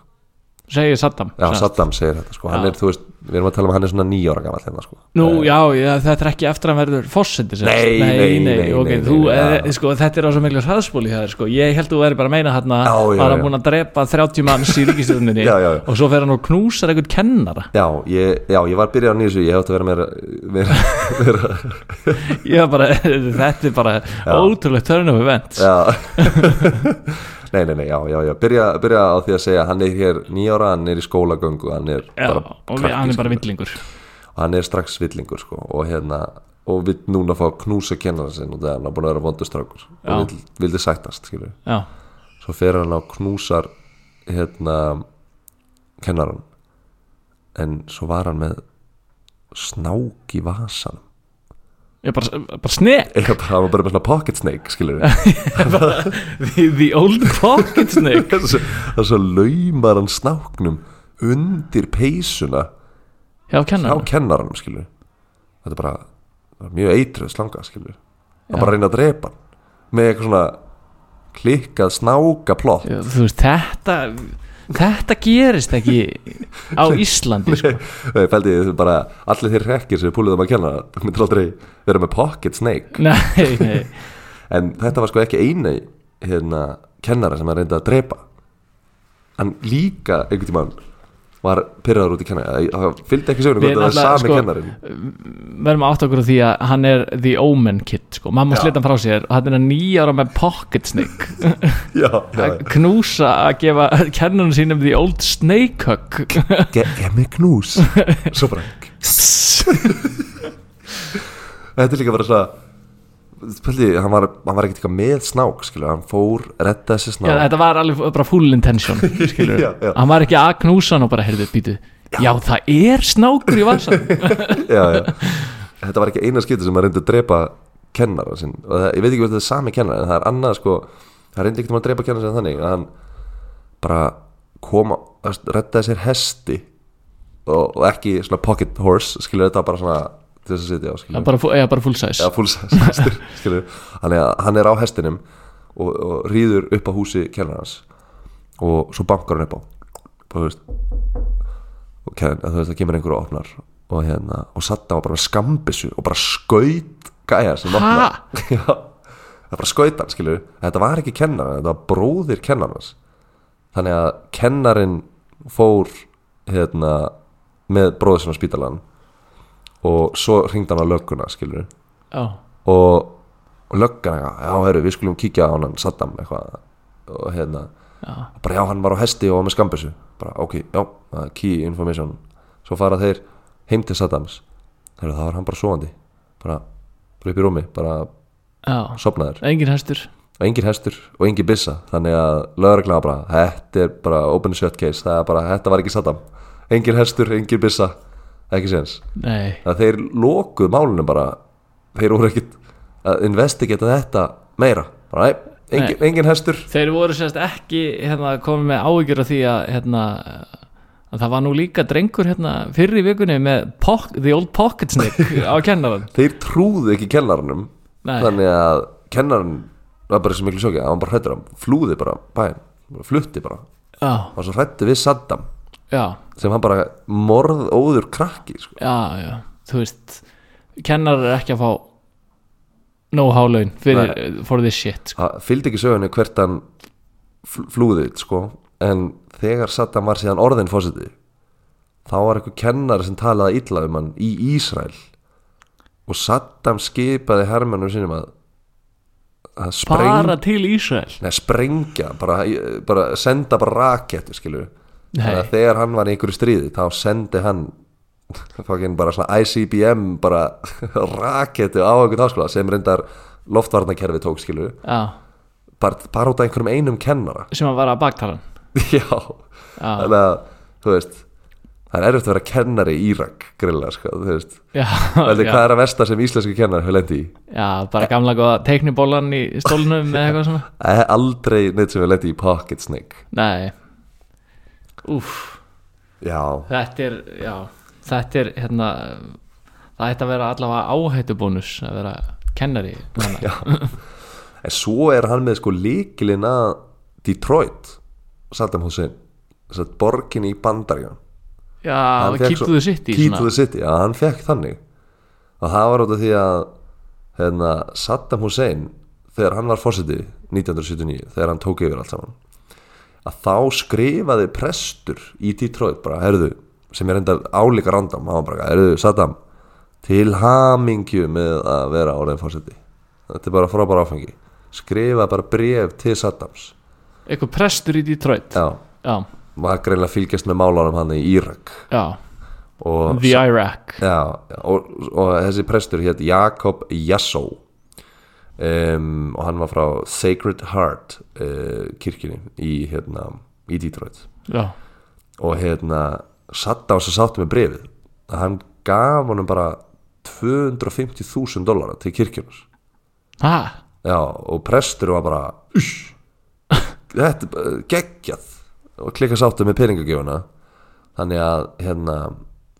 Speaker 2: segir Saddam
Speaker 1: já,
Speaker 2: sem sagt.
Speaker 1: Saddam segir þetta, sko, hann
Speaker 2: Já.
Speaker 1: er, þú veist við erum að tala um að hann er svona nýjára gamall hérna, sko
Speaker 2: Nú, já, já, þetta er ekki eftir að hann verður fósendi
Speaker 1: Nei, nei, nei,
Speaker 2: ok,
Speaker 1: nei,
Speaker 2: þú,
Speaker 1: nei,
Speaker 2: nei,
Speaker 1: já.
Speaker 2: sko, þetta er á svo miklu hraðspúli það, sko, ég held að þú verður bara að meina hann að
Speaker 1: Já, já,
Speaker 2: var
Speaker 1: já.
Speaker 2: hann búin að drepa 30 manns í ríkistöðunni
Speaker 1: Já, já, já.
Speaker 2: og svo fer hann og knúsar einhvern kennara
Speaker 1: Já, ég, já, ég var byrjað á nýjus ég hefði átt að vera meira, meira, meira
Speaker 2: ég var bara, þetta er bara ótrúlegt törnum event já,
Speaker 1: Já Nei, nei, nei, já, já, já Byrja, byrja á því að segja hann er hér nýjára, hann er í skólagöngu hann er bara
Speaker 2: og við, hann er bara
Speaker 1: krakki,
Speaker 2: villingur
Speaker 1: sko. hann er strax villingur sko, og hérna og vill núna fá að knúsa kennara sinn og það hann er búin að vera vondustrákur
Speaker 2: Já.
Speaker 1: og vill, vildi sættast skilur.
Speaker 2: já,
Speaker 1: svo fer hann á knúsar hérna kennaran en svo var hann með snák í vasan
Speaker 2: ég bara, bara sne
Speaker 1: Eða bara, hann var bara með svona pocket snake skilur
Speaker 2: the, the old pocket snake
Speaker 1: þess að svo laumar hann snáknum undir peysuna
Speaker 2: já,
Speaker 1: á
Speaker 2: kennara,
Speaker 1: kennaranum skilur þetta er bara það er mjög eitruð slanga skilur hann bara reyna að drepa hann með eitthvað svona klikkað snáka plott
Speaker 2: já, þú veist, þetta þetta gerist ekki á Íslandi, sko
Speaker 1: Nei, fældi ég bara allir þeir rekkir sem er púlið um að kenna myndir aldrei vera með pocket snake
Speaker 2: nei, nei
Speaker 1: en þetta var sko ekki eina hérna, kennara sem hann reyndi að drepa hann líka einhvern tímann var pyrraður út í kennari það fylgdi ekki sögurinn
Speaker 2: Við
Speaker 1: hvort það var
Speaker 2: náttúrulega,
Speaker 1: sami
Speaker 2: sko,
Speaker 1: kennarin
Speaker 2: verðum að átta okkur á því að hann er the omen kid sko.
Speaker 1: Já.
Speaker 2: mamma slita hann frá sér og hann er nýja ára með pocket snake
Speaker 1: já, já, já.
Speaker 2: að knúsa að gefa kennunum sínum the old snake hug
Speaker 1: Ge gef mér knús Svo bara Þetta er líka bara svona Spöldi, hann var, hann var ekkert eitthvað með snák skilur, hann fór, rettaði sér
Speaker 2: Já,
Speaker 1: snák
Speaker 2: þetta var alveg bara full intention skilur.
Speaker 1: Já, já.
Speaker 2: hann var ekki að knúsa hann og bara heyrðu býtu Já, það er snákur í vasan
Speaker 1: já, já. Þetta var ekki eina skipti sem hann reyndi að drepa kennara sinn og það, ég veit ekki hvort þetta er sami kennara en það er annað sko, hann reyndi ekkert að drepa kennara sinn þannig að hann bara koma, rettaði sér hesti og, og ekki svona pocket horse, skilur þetta var bara svona til þess að sitja á, skilur
Speaker 2: bara, fu- eða bara full size
Speaker 1: Já, full size hestur, skilur Þannig að hann er á hestinum og, og rýður upp á húsi kennar hans og svo bankar hann upp á bara þú veist og kenn, þú veist, það kemur einhver og opnar og hérna, og satt á bara með skambissu og bara skaut gæja sem opnar
Speaker 2: Ha?
Speaker 1: Já, það bara skaut hann, skilur Þetta var ekki kennar, þetta var bróðir kennar hans Þannig að kennarin fór hérna með bróðir sinna á spítalan og svo hringdi hann á lögguna skilur
Speaker 2: já,
Speaker 1: og, og löggan eitthvað, já herru við skulum kíkja á hann Saddam eitthvað og hérna,
Speaker 2: já,
Speaker 1: bara já hann var á hesti og var með skambessu, bara ok, já það er key information, svo fara þeir heim til Saddams, herru það var hann bara svoandi, bara, bara upp í rúmi bara
Speaker 2: já
Speaker 1: sopnaður,
Speaker 2: engin hestur
Speaker 1: og engin hestur og engin byssa, þannig að lögreglan var bara, þetta er bara open and shut case, það er bara, þetta var ekki Saddam engin hestur, engin byssa ekki séns
Speaker 2: nei,
Speaker 1: að þeir lokuð málunum bara þeir voru ekkit að investigata þetta meira bara, nei, engin, engin hestur
Speaker 2: þeir voru sérst ekki hérna, komið með áhyggjur af því að hérna, að það var nú líka drengur hérna, fyrir í vikunni með pock, the old pocket snake á kennaran
Speaker 1: þeir trúðu ekki kennaranum
Speaker 2: Nei.
Speaker 1: þannig að kennaran var bara sem miklu sjókja, hann var bara hrættur hann flúði bara bæinn, bara flutti bara
Speaker 2: já,
Speaker 1: hann var svo hrættu við Saddam
Speaker 2: já,
Speaker 1: sem hann bara morð óður krakki sko.
Speaker 2: já, já þú veist, kennarar er ekki að fá no hálaun fyrir, for this shit sko.
Speaker 1: það fylgdi ekki sögunni hvert hann fl- flúði sko. en þegar Saddam var síðan orðin fósiti þá var eitthvað kennari sem talaði illa um hann í Ísræl og Saddam skipaði hermennum sínum að að spreng,
Speaker 2: bara til Ísrael
Speaker 1: nei, sprengja bara, bara senda bara raketu skilur
Speaker 2: Nei.
Speaker 1: að þegar hann var í einhverju stríði þá sendi hann fucking bara svona ICBM bara raketu á einhvern háskóla sem reyndar loftvarnakerfi tók skilur
Speaker 2: já,
Speaker 1: bara, bara út af einhverjum einum kennara
Speaker 2: sem að vara að baktala hann
Speaker 1: já, þannig að þú veist það er erfitt að vera kennari í Írak grilla, sko, þú veist
Speaker 2: já,
Speaker 1: Veldi,
Speaker 2: já,
Speaker 1: hvað er að versta sem íslenski kennari hefur lendi í
Speaker 2: já, bara gamla góða teiknibólan í stólnum eða eitthvað svona
Speaker 1: Eh, aldrei neitt sem hefur lendi í pocket snake
Speaker 2: nei úff
Speaker 1: já,
Speaker 2: Þetta er, já, þetta er hérna, það ætti að vera allavega áhættubónus að vera kennari þannig.
Speaker 1: já en svo er hann með sko líkilinn að Detroit Saddam Hussein þess að borgin í Bandaríun
Speaker 2: Já,
Speaker 1: Hann fékk svo-
Speaker 2: kýttuðu sitt í
Speaker 1: Key to the City, já, hann fekk þannig og það var út af því að hérna, Saddam Hussein þegar hann var fósiti 1979 þegar hann tók yfir allt saman að þá skrifaði prestur í Detroit bara, herðu, sem er enda álíka random, hann var bara, herðu, Saddam til hamingju með að vera orðin fósiti þetta er bara frábæra áfengi skrifa bara bref til Saddams
Speaker 2: Eitthvað prestur í Detroit
Speaker 1: já,
Speaker 2: Já,
Speaker 1: maður greinlega að fylgjast með málunum hann í Írak
Speaker 2: já,
Speaker 1: og
Speaker 2: The Iraq
Speaker 1: Já, og, og þessi prestur hétt Jakob Jassó um, og hann var frá Sacred Heart uh, kirkjunni í, hérna, í Detroit
Speaker 2: Já,
Speaker 1: og hérna satt á þess að sáttu með brefið að hann gaf honum bara 250.000 dólara til kirkjunus
Speaker 2: ha,
Speaker 1: Já, og prestur var bara "Uss, Þetta er bara geggjað og klikka sáttu með peningagjöfuna þannig að hérna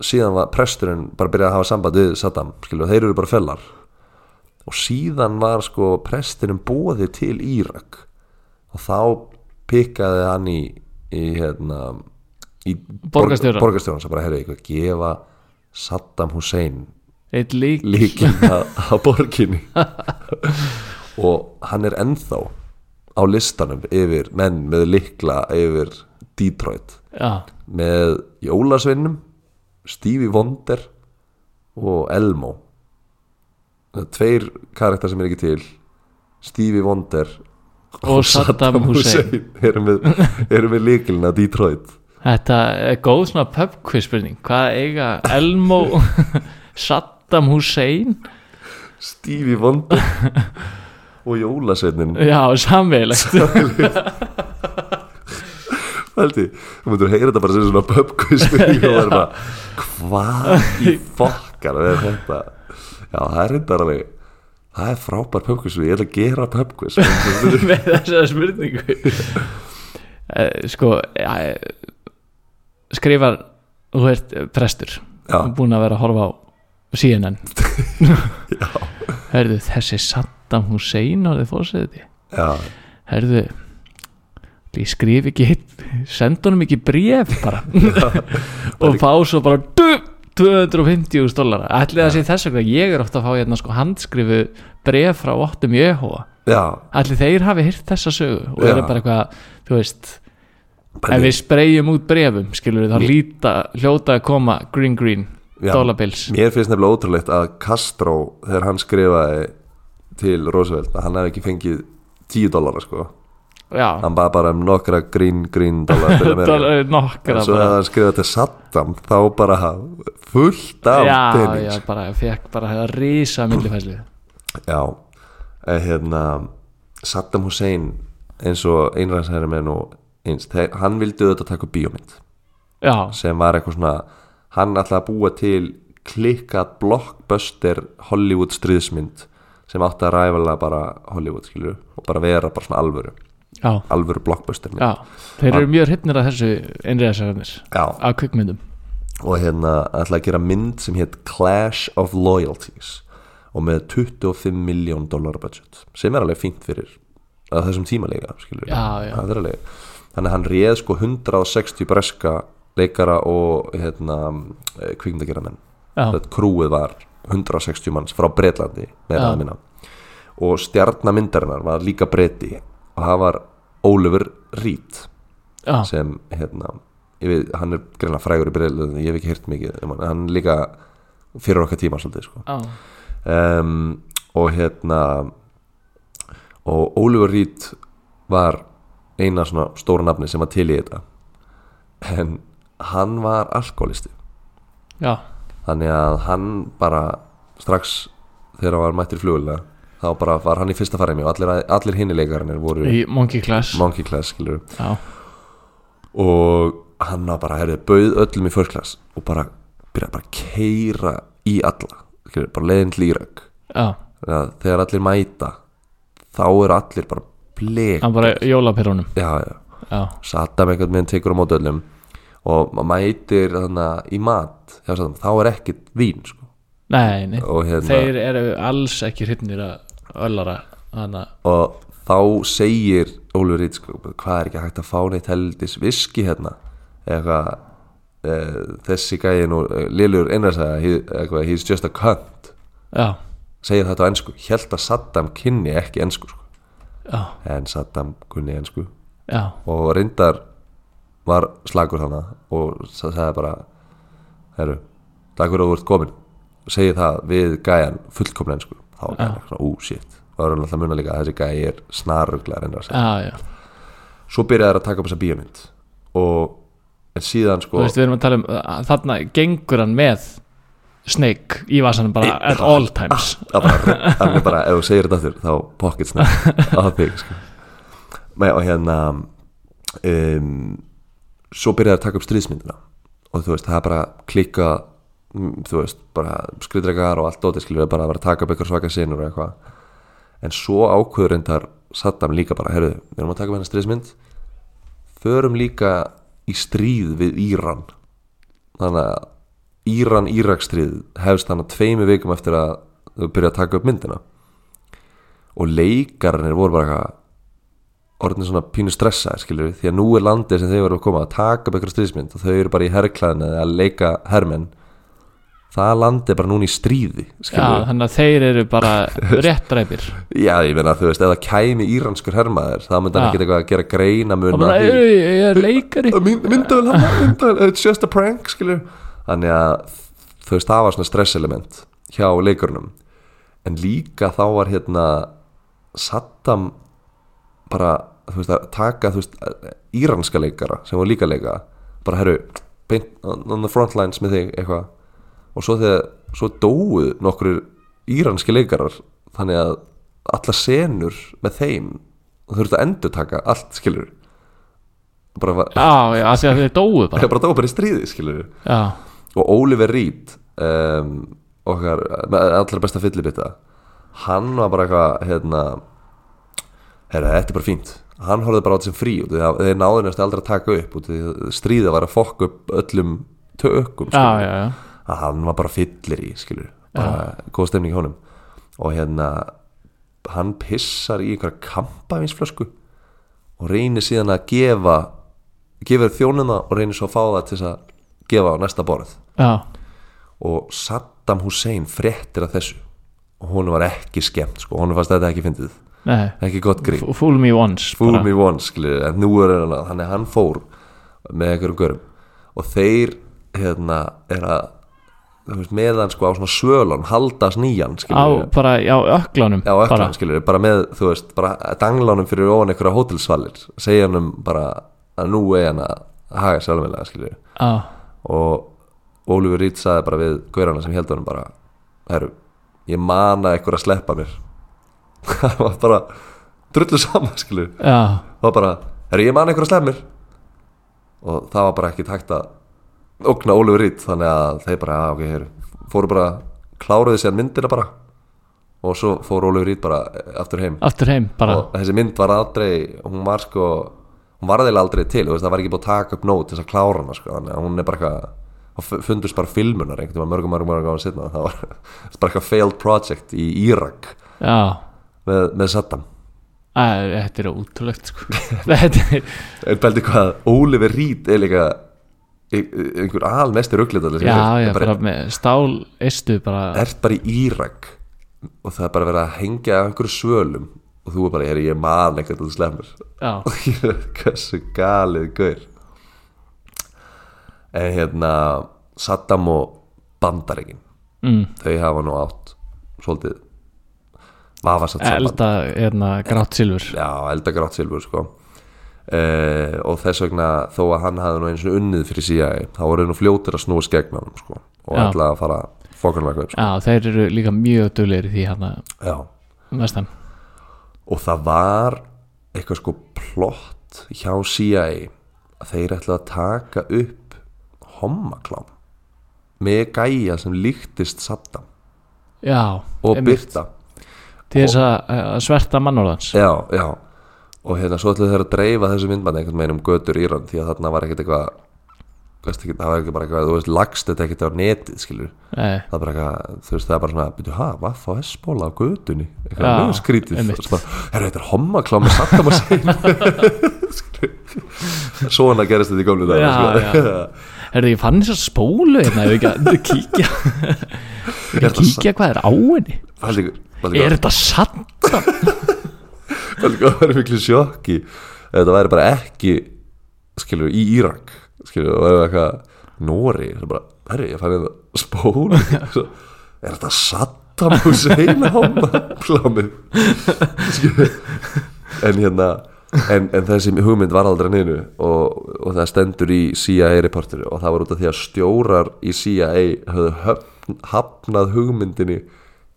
Speaker 1: síðan var presturinn bara byrjaði að hafa samband við Saddam, skilju, þeir eru bara fellar og síðan var sko presturinn bóðið til Írak og þá pikkaði hann í, í hérna í
Speaker 2: Borgarstjórann.
Speaker 1: borgarstjóran sem bara herri eitthvað gefa Saddam Hussein
Speaker 2: eitt lík
Speaker 1: líkin á borginni og hann er ennþá á listanum yfir menn með likla yfir Detroit
Speaker 2: Já,
Speaker 1: með Jólasvinnum Stevie Wonder og Elmo það er tveir karakter sem er ekki til Stevie Wonder
Speaker 2: Og Saddam Hussein.
Speaker 1: eru með, eru með líkilina Detroit
Speaker 2: þetta er góð svona pub quiz spurning Hvað eiga Elmo Saddam Hussein
Speaker 1: Stevie Wonder og Jólasvinnin
Speaker 2: Já, samveilegt
Speaker 1: Haldi, þú myndur heyra þetta bara sem svona pubquiz og það er bara, hvað í fokkar er þetta já, það er reyndar alveg það er frábær pubquiz, ég ætla að gera pubquiz
Speaker 2: með þessa spurningu Eh, sko eh, skrifar þú ert eh, prestur
Speaker 1: Já.
Speaker 2: búin að vera að horfa á CNN herðu þessi Saddam Hussein orðið fórseti
Speaker 1: já,
Speaker 2: herðu ég skrif ekki hitt senda honum ekki bréf bara og fá svo bara du- 250.000 dólar ætli það sé þess vegna ég er ofta að fá hérna sko handskrifu bréf frá 8. Jehova
Speaker 1: já
Speaker 2: Allir þeir hafi hýrt þessa sögu og
Speaker 1: Já.
Speaker 2: eru bara eitthvað, þú veist ef
Speaker 1: Pældi,
Speaker 2: við spreyjum út brefum, skilur við þá líta, hljóta að koma green green
Speaker 1: Já.
Speaker 2: dólabils
Speaker 1: Mér finnst nefnilega ótrúlegt að Castro þegar hann skrifaði til Roosevelt að hann hefði ekki fengið 10 dólara sko
Speaker 2: já,
Speaker 1: hann bara bara um nokkra grín grín dólar til að vera.
Speaker 2: Dol-
Speaker 1: en
Speaker 2: nokkra
Speaker 1: svo þegar
Speaker 2: bara.
Speaker 1: hann skrifaði til Saddam þá bara fullt af
Speaker 2: já,
Speaker 1: pening
Speaker 2: já,
Speaker 1: sko.
Speaker 2: bara fekk bara að rísa millifæslu
Speaker 1: já, en hérna Saddam Hussein eins og einræðsæri með nú eins, þeir, hann vildi auðvitað taka upp bíómynd
Speaker 2: já,
Speaker 1: sem var eitthvað svona hann ætlaði að búa til klikkað blockbuster Hollywood stríðsmynd sem átti að ræfala bara Hollywood skilur og bara vera bara svona alvöru
Speaker 2: já,
Speaker 1: alvöru blockbuster mynd.
Speaker 2: já þeir eru mjög hrypnir að þessu innræðsararnir
Speaker 1: Já,
Speaker 2: að kvikmyndum
Speaker 1: og hérna ætlaði að gera mynd sem hétt Clash of Loyalties og með 25 miljón dólar budget sem er alveg fínt fyrir að þessum tímalega skilur
Speaker 2: Já, já.
Speaker 1: Það er alveg, þannig að hann réð sko 160 breska leikara og hérna kvikmyndageramenn
Speaker 2: já,
Speaker 1: þetta krúið var 160 manns frá Breitlandi meira
Speaker 2: Já.
Speaker 1: að minna og stjarnamyndarinnar var líka breyti og það var Oliver Reed
Speaker 2: já,
Speaker 1: sem hérna ég veit, hann er greinlega frægur í Breitlandi ég hef ekki heyrt mikið um hann, hann er líka fyrir okkar tíma svolítið sko.
Speaker 2: já,
Speaker 1: um, og hérna og Oliver Reed var eina svona stóra nafni sem var til í þetta en hann var alkoholisti
Speaker 2: já
Speaker 1: þannig að hann bara strax þegar hann var mættir flugulega þá bara var hann í fyrsta farið mér og allir, allir hinnileikarinnir voru
Speaker 2: í Monkey Class
Speaker 1: monkey class skilur
Speaker 2: já,
Speaker 1: og hann var bara herrið bauð öllum í first class og bara byrjaði bara að keira í alla skilur, bara leiðin til Írak
Speaker 2: já,
Speaker 1: Þannig að þegar allir mæta þá eru allir bara blek
Speaker 2: hann bara jólapyrrunum
Speaker 1: já, já.
Speaker 2: já,
Speaker 1: Saddam einhvern veginn tekur á mót öllum og maður mætir þannig í mat hjá Saddam, þá er ekkit vín sko.
Speaker 2: nei, nei
Speaker 1: og hérna
Speaker 2: þeir eru alls ekki hrypnir að öllara þannig að
Speaker 1: og þá segir Ólfur Rít sko, hvað er ekki hægt að fá neitt heldis viski hérna eitthvað e, þessi gæði nú e, Liljur einræðsæða he- eitthvað he's just a cunt
Speaker 2: já,
Speaker 1: segir þetta á ennsku, held að Saddam kynni ekki ennsku sko.
Speaker 2: já,
Speaker 1: en Saddam kunni ennsku
Speaker 2: já,
Speaker 1: og reyndar var slagur þannig og sa- sagði bara herru, takk fyrir að þú ert komin segi það við gæjan fullkomna ennsku þá er gæjan svona, ú, shit og það er hann alltaf muna líka að þessi gæji er snaruglega einræðsæða
Speaker 2: já, já
Speaker 1: svo byrjaði þær að taka upp þessa bíómynd og en síðan
Speaker 2: þú
Speaker 1: sko
Speaker 2: veist við erum að tala um að þarna gengur hann með Snake í vasanum bara
Speaker 1: Í-
Speaker 2: at all times
Speaker 1: að bara, hann er bara, ef þú segir þetta aftur þá pocket snap á þig sko. Nei, og hérna um, svo byrjaði þær að taka upp stríðsmyndina og þú veist, það er bara klikka mm, þú veist, bara skriðdregar og allt dótið skilur bara að vera að taka upp eitthvað svaka sinur og eitthvað en svo ákveður reyndar Saddam líka bara, herru, við erum að taka upp hennar stríðsmynd förum líka í stríð við Íran þannig að Íran Írakstríð hefst þannig að tveimu vikum eftir að þau byrja að taka upp myndina og leikarnir voru bara eitthvað orðin svona pínu stressaðir skilur við, því að nú er landið sem þau eru að koma að taka upp eitthvað stríðsmynd og þau eru bara í herrklæðinu eða að leika hermenn það landið er bara núna í stríði
Speaker 2: já,
Speaker 1: skilur
Speaker 2: þannig að þeir eru bara réttræpir
Speaker 1: við já, ég meina þú veist, ef það kæmi íranskur hermaður þá myndi hann
Speaker 2: Já.
Speaker 1: ekki eitthvað að gera greina mun
Speaker 2: og bara, "Ey, ég er leikari
Speaker 1: myndavel hann myndavel, it's just a prank skilur þannig að þau stafa svona stresselement hjá leikurnum en líka þá var hérna Saddam bara þú veist að taka þú veist íranska leikara sem var líka að leika bara herru, beint on on the front lines með þig eitthvað og svo þegar, svo dóu nokkur íranski leikarar þannig að alla senur með þeim þurftu að endur taka allt skilur bara var,
Speaker 2: já, já, af því að þeir dóu
Speaker 1: Það
Speaker 2: bara
Speaker 1: er bara dópar í stríði, skilur
Speaker 2: já,
Speaker 1: Og Oliver Reed um, okkar, með allra besta fyllibita hann var bara eitthvað hérna herra, þetta er bara fínt hann horfði bara á þetta sem frí út af því að þeir náðu næstu aldrei að taka upp út af því að stríða var að fokka upp öllum tökum
Speaker 2: já,
Speaker 1: skilurðu.
Speaker 2: já, já
Speaker 1: að hann var bara fyllir í skilur, bara góð stemning í honum og hérna hann pissar í einhverja kampavinsflösku og reynir síðan að gefa gefur þjónuna og reynir svo að fá það til þess að gefa á næsta borð
Speaker 2: já,
Speaker 1: og Saddam Hussein fréttir að þessu og hún var ekki skemmt sko, hún fannst þetta ekki fyndið
Speaker 2: nei
Speaker 1: ekki gott grín
Speaker 2: F- Fool me once
Speaker 1: fool
Speaker 2: bara.
Speaker 1: me once skilur, en nú er hann að þannig að hann fór með einhverjum görum og þeir hérna er að þú veist, meðan sko á svona svölun halda snýjan
Speaker 2: á
Speaker 1: skilur við
Speaker 2: bara, já, öklanum
Speaker 1: Já, öklan,
Speaker 2: bara.
Speaker 1: skilur við, bara með, þú veist, bara danglanum fyrir ofan einhverja hótelsvalir segja hann um bara að nú er hann að haga sjálfmjölega, skilur við
Speaker 2: á,
Speaker 1: og Ólífur Rít sagði bara við gaurana sem held honum bara herru, ég mana einhver að sleppa mér það var bara drullu sama, skilur við.
Speaker 2: já,
Speaker 1: það var bara, herru, ég mana einhver að sleppa mér og það var bara ekki takt að ógna Ólífur Rít þannig að þeir bara, "Ah, ok, herru fóru bara, kláruðu sér myndina bara og svo fór Ólífur Rít bara eh, aftur heim
Speaker 2: aftur heim bara,
Speaker 1: og þessi mynd var aldrei hún var sko, hún var aðeins aldrei til þú veist, það var ekki búið að taka upp nót til þess að klára hana sko, þannig að hún er bara eitthvað og fu- fundust bara filmunar einhvern veginn mörgum mörgum mörgum ára setna það var bara eitthvað failed project í Írak
Speaker 2: já
Speaker 1: með, með Saddam
Speaker 2: Æ, þetta er ótrúlegt sko þetta er,
Speaker 1: en pældi hvað Oliver Reed er líka ein- einhver almesti ruglitað
Speaker 2: já, já, bara með stál eistu bara,
Speaker 1: ert bara í Írak og það er bara verið að hengja af einhverju svölum og þú er bara, "Heyrðu, ég man ekkert að þú slemmir
Speaker 2: já,
Speaker 1: hversu galið gaur en hérna Saddam og Bandaríkin
Speaker 2: mm,
Speaker 1: þau hafa nú átt svolítið vafasatt samband
Speaker 2: elda, hérna, grátt silfur
Speaker 1: já, elda grátt silfur sko Uh, og þess vegna þó að hann hafði nú eins og unnið fyrir síðan þá voru nú fljótir að snúa skegnanum sko, og
Speaker 2: Já.
Speaker 1: ætlaði að fara fokkanlega upp sko.
Speaker 2: já, þeir eru líka mjög duglegir í því hérna,
Speaker 1: Já.
Speaker 2: vestam
Speaker 1: og það var eitthvað sko plott hjá CIA að þeir ætlaði að taka upp hommaklám með gæja sem líktist Saddam
Speaker 2: já,
Speaker 1: og
Speaker 2: einmitt.
Speaker 1: Byrta
Speaker 2: til þess að að sverta mannorðans
Speaker 1: já, já og hérna svo ætlaði þeir að dreifa þessu myndbandi einhvern veginn um götur Íran því að þarna var ekkert eitthvað veist ekki, það var ekki bara eitthvað, þú veist, lagst þetta ekkert á netið, skilur,
Speaker 2: Nei,
Speaker 1: það er bara eitthvað þú veist, það er bara svona, byrju, ha, vaff á S-bóla á götunni, eitthvað
Speaker 2: Já,
Speaker 1: mjög skrítið
Speaker 2: einmitt.
Speaker 1: og svo bara, herru, þetta er hommaklám með Saddam að segja svona gerist þetta í gömlu sko. dag
Speaker 2: Já, herrðu, ég fann þess að spólu hérna, ég hef ekki að kíkja
Speaker 1: Er þetta
Speaker 2: kíkja hvað er á henni
Speaker 1: Fældi hvað
Speaker 2: er þetta satt?
Speaker 1: það væri miklu sjokki ef þetta væri bara ekki skilur, í Írak skilur, og ef eitthvað Nóri, það er bara, herru, ég fann þetta spóli Svo, er þetta Saddam Hussein hommaklámið Skilur. en hérna en, en þessi hugmynd var aldrei neinu og, og það stendur í CIA reportinu og það var út af því að stjórar í CIA höfðu höfn, hafnað hugmyndinni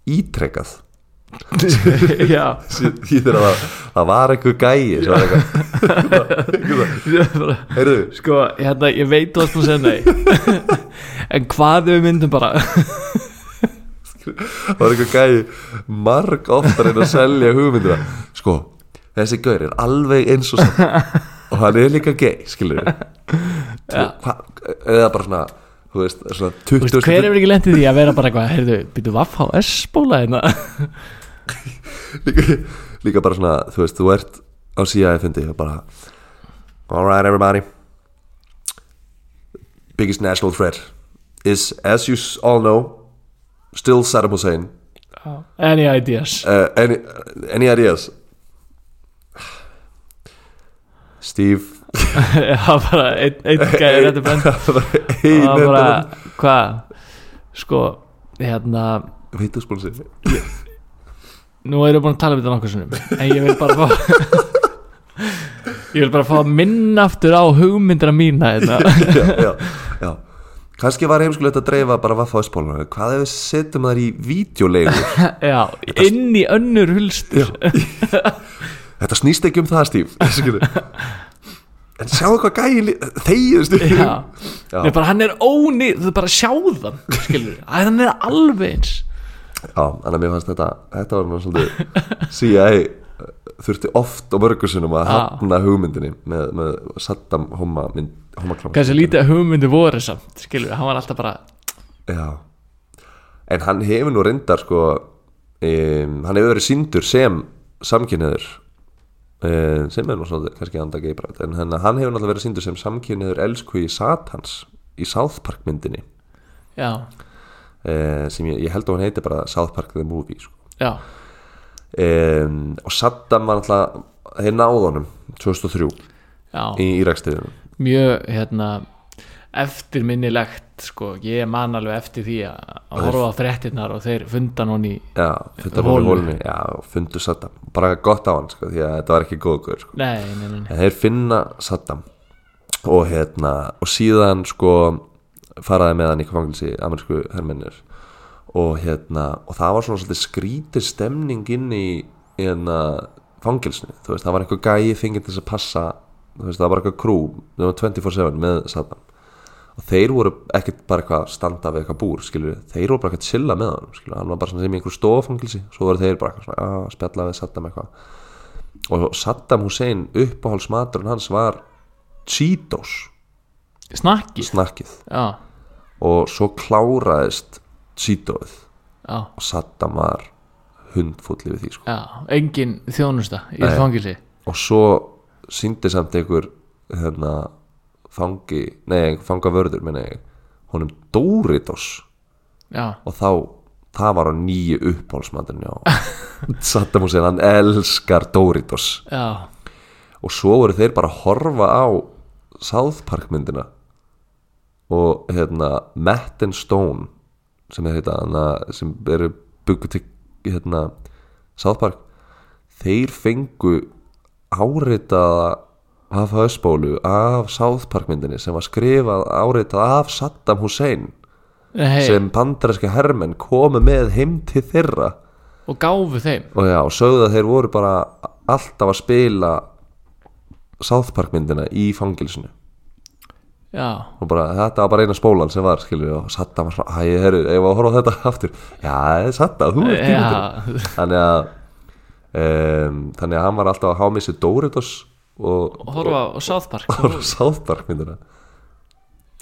Speaker 1: ítrekkað
Speaker 2: já,
Speaker 1: því þegar það, það var einhver gæi sem var eitthvað
Speaker 2: ég bara
Speaker 1: heyrðu,
Speaker 2: Sko, hérna, ég veit þú varst búin að segja nei En hvað ef við myndum bara
Speaker 1: það var einhver gæi marg oftar en að selja hugmyndina sko, þessi gaur er alveg eins og saman og hann er líka gay, skilur eða bara svona þú veist, svona
Speaker 2: Þú
Speaker 1: 20
Speaker 2: veist, Hver hefur ekki lendið því að vera bara eitthvað Heyrðu, býtu vaff á S-bóla hérna
Speaker 1: líka, líka bara svona, þú veist, þú ert á CIA fundi og bara Alright everybody Biggest national threat is, as you s- all know still Saddam Hussein
Speaker 2: Any ideas
Speaker 1: uh, any, any ideas? Steve
Speaker 2: Já, bara einn ein gæði
Speaker 1: Ein-
Speaker 2: Þetta brenn
Speaker 1: Hey,
Speaker 2: Og bara, hvað Sko, hérna
Speaker 1: Vítaspólsi
Speaker 2: Nú erum við búin að tala um þetta nokkuð sinnum En ég vil bara fá Ég vil bara fá að minna aftur á hugmyndina mína hérna.
Speaker 1: já, já, já Kanski var heimskulegt að dreifa bara vaffa á spólunum Hvað ef við setjum þar í vídeoleigur?
Speaker 2: Já, inn í önnur hulstur
Speaker 1: Þetta snýst ekki um það, Steve Skilur. En sjáðu hvað gæði Þegið, Steve
Speaker 2: Já,
Speaker 1: Já.
Speaker 2: Nei, bara hann er óni þú bara sjáðan, skilur Æ, hann er alveg eins
Speaker 1: Já, en að mér fannst þetta Þetta var nú svolítið CIA þurfti oft og mörgursunum að
Speaker 2: Já.
Speaker 1: hafna hugmyndinni með, með Saddam Homa mynd, Homa kláma
Speaker 2: Kansi lítið að hugmyndi voru samt, skilur Hann var alltaf bara,
Speaker 1: Já En hann hefur nú reyndar sko um, Hann hefur verið síndur sem samkynniður um, sem er nú svolítið kannski anda geibrætt en hann, hann hefur náttúrulega verið síndur sem samkynniður elsku í Satans í South Park myndinni
Speaker 2: já,
Speaker 1: um, sem ég, ég held að hann heiti bara South Park the Movie sko.
Speaker 2: já
Speaker 1: um, og Saddam var náttúrulega þeir náðu honum 2003
Speaker 2: Já,
Speaker 1: í Írakstíðinu
Speaker 2: mjög, hérna eftirminnilegt sko, ég man alveg eftir því að að
Speaker 1: Og þeir-
Speaker 2: horfa á fréttinnar og þeir funda núni
Speaker 1: já, fundar hún í
Speaker 2: Holu.
Speaker 1: hólunni já, fundu Saddam, bara gott á hann sko, því að þetta var ekki góð guður sko.
Speaker 2: nei, nei, nei, nei.
Speaker 1: en þeir finna Saddam og hérna, og síðan sko faraði með hann í kvanglisi amerísku hermennir og hérna, og það var svona svolítið skrítið stemning inn í hérna, fangilsinu, þú veist, það var eitthvað gæi fengið til þess að passa, þú veist, það var eitthvað krú, það var 24-7 með Saddam og þeir voru ekkert bara eitthvað að standa við eitthvað búr, skilur þeir voru bara eitthvað að chilla með hann, skilur, hann var bara svona sem í einhver stofangilsi, svo voru þeir bara eitthvað svona að spjalla við Saddam eitthvað og Saddam Hussein uppáhaldsmaturinn hans var Cheetos
Speaker 2: snakki
Speaker 1: snakkið
Speaker 2: já,
Speaker 1: og svo kláraðist Cheetoð
Speaker 2: já,
Speaker 1: og Saddam var hundfúll yfir því sko.
Speaker 2: já engin þjónusta í
Speaker 1: Nei.
Speaker 2: þessu fangilsi
Speaker 1: og svo síndi samt einhver hérna, fangi nei, fangavörður minni ég honum Doritos
Speaker 2: já,
Speaker 1: og þá það var á nýju uppáhaldsmaturinn já. Saddam Hussein, hann elskar Doritos
Speaker 2: já,
Speaker 1: og svo voru þeir bara að horfa á South Park myndina og hérna Matt and Stone sem er heita hana, sem eru byggu til hérna South Park þeir fengu áritaða af höstbólu af South Park myndinni sem var skrifað áritað af Saddam Hussein
Speaker 2: hei
Speaker 1: sem bandaræska hermenn komu með heim til þeirra
Speaker 2: og gáfu þeim
Speaker 1: og já, og sögðu að þeir voru bara alltaf að spila South Park myndina í fangilsinu
Speaker 2: já,
Speaker 1: og bara, þetta var bara eina spólan sem var skilur, og Saddam var svona, æ, herru, ég var að horfa á þetta aftur já, Saddam, þú ert
Speaker 2: já,
Speaker 1: tímatur þannig að um, þannig að hann var alltaf að há með sér Doritos og,
Speaker 2: horfa á South Park
Speaker 1: og horfa á South Park myndina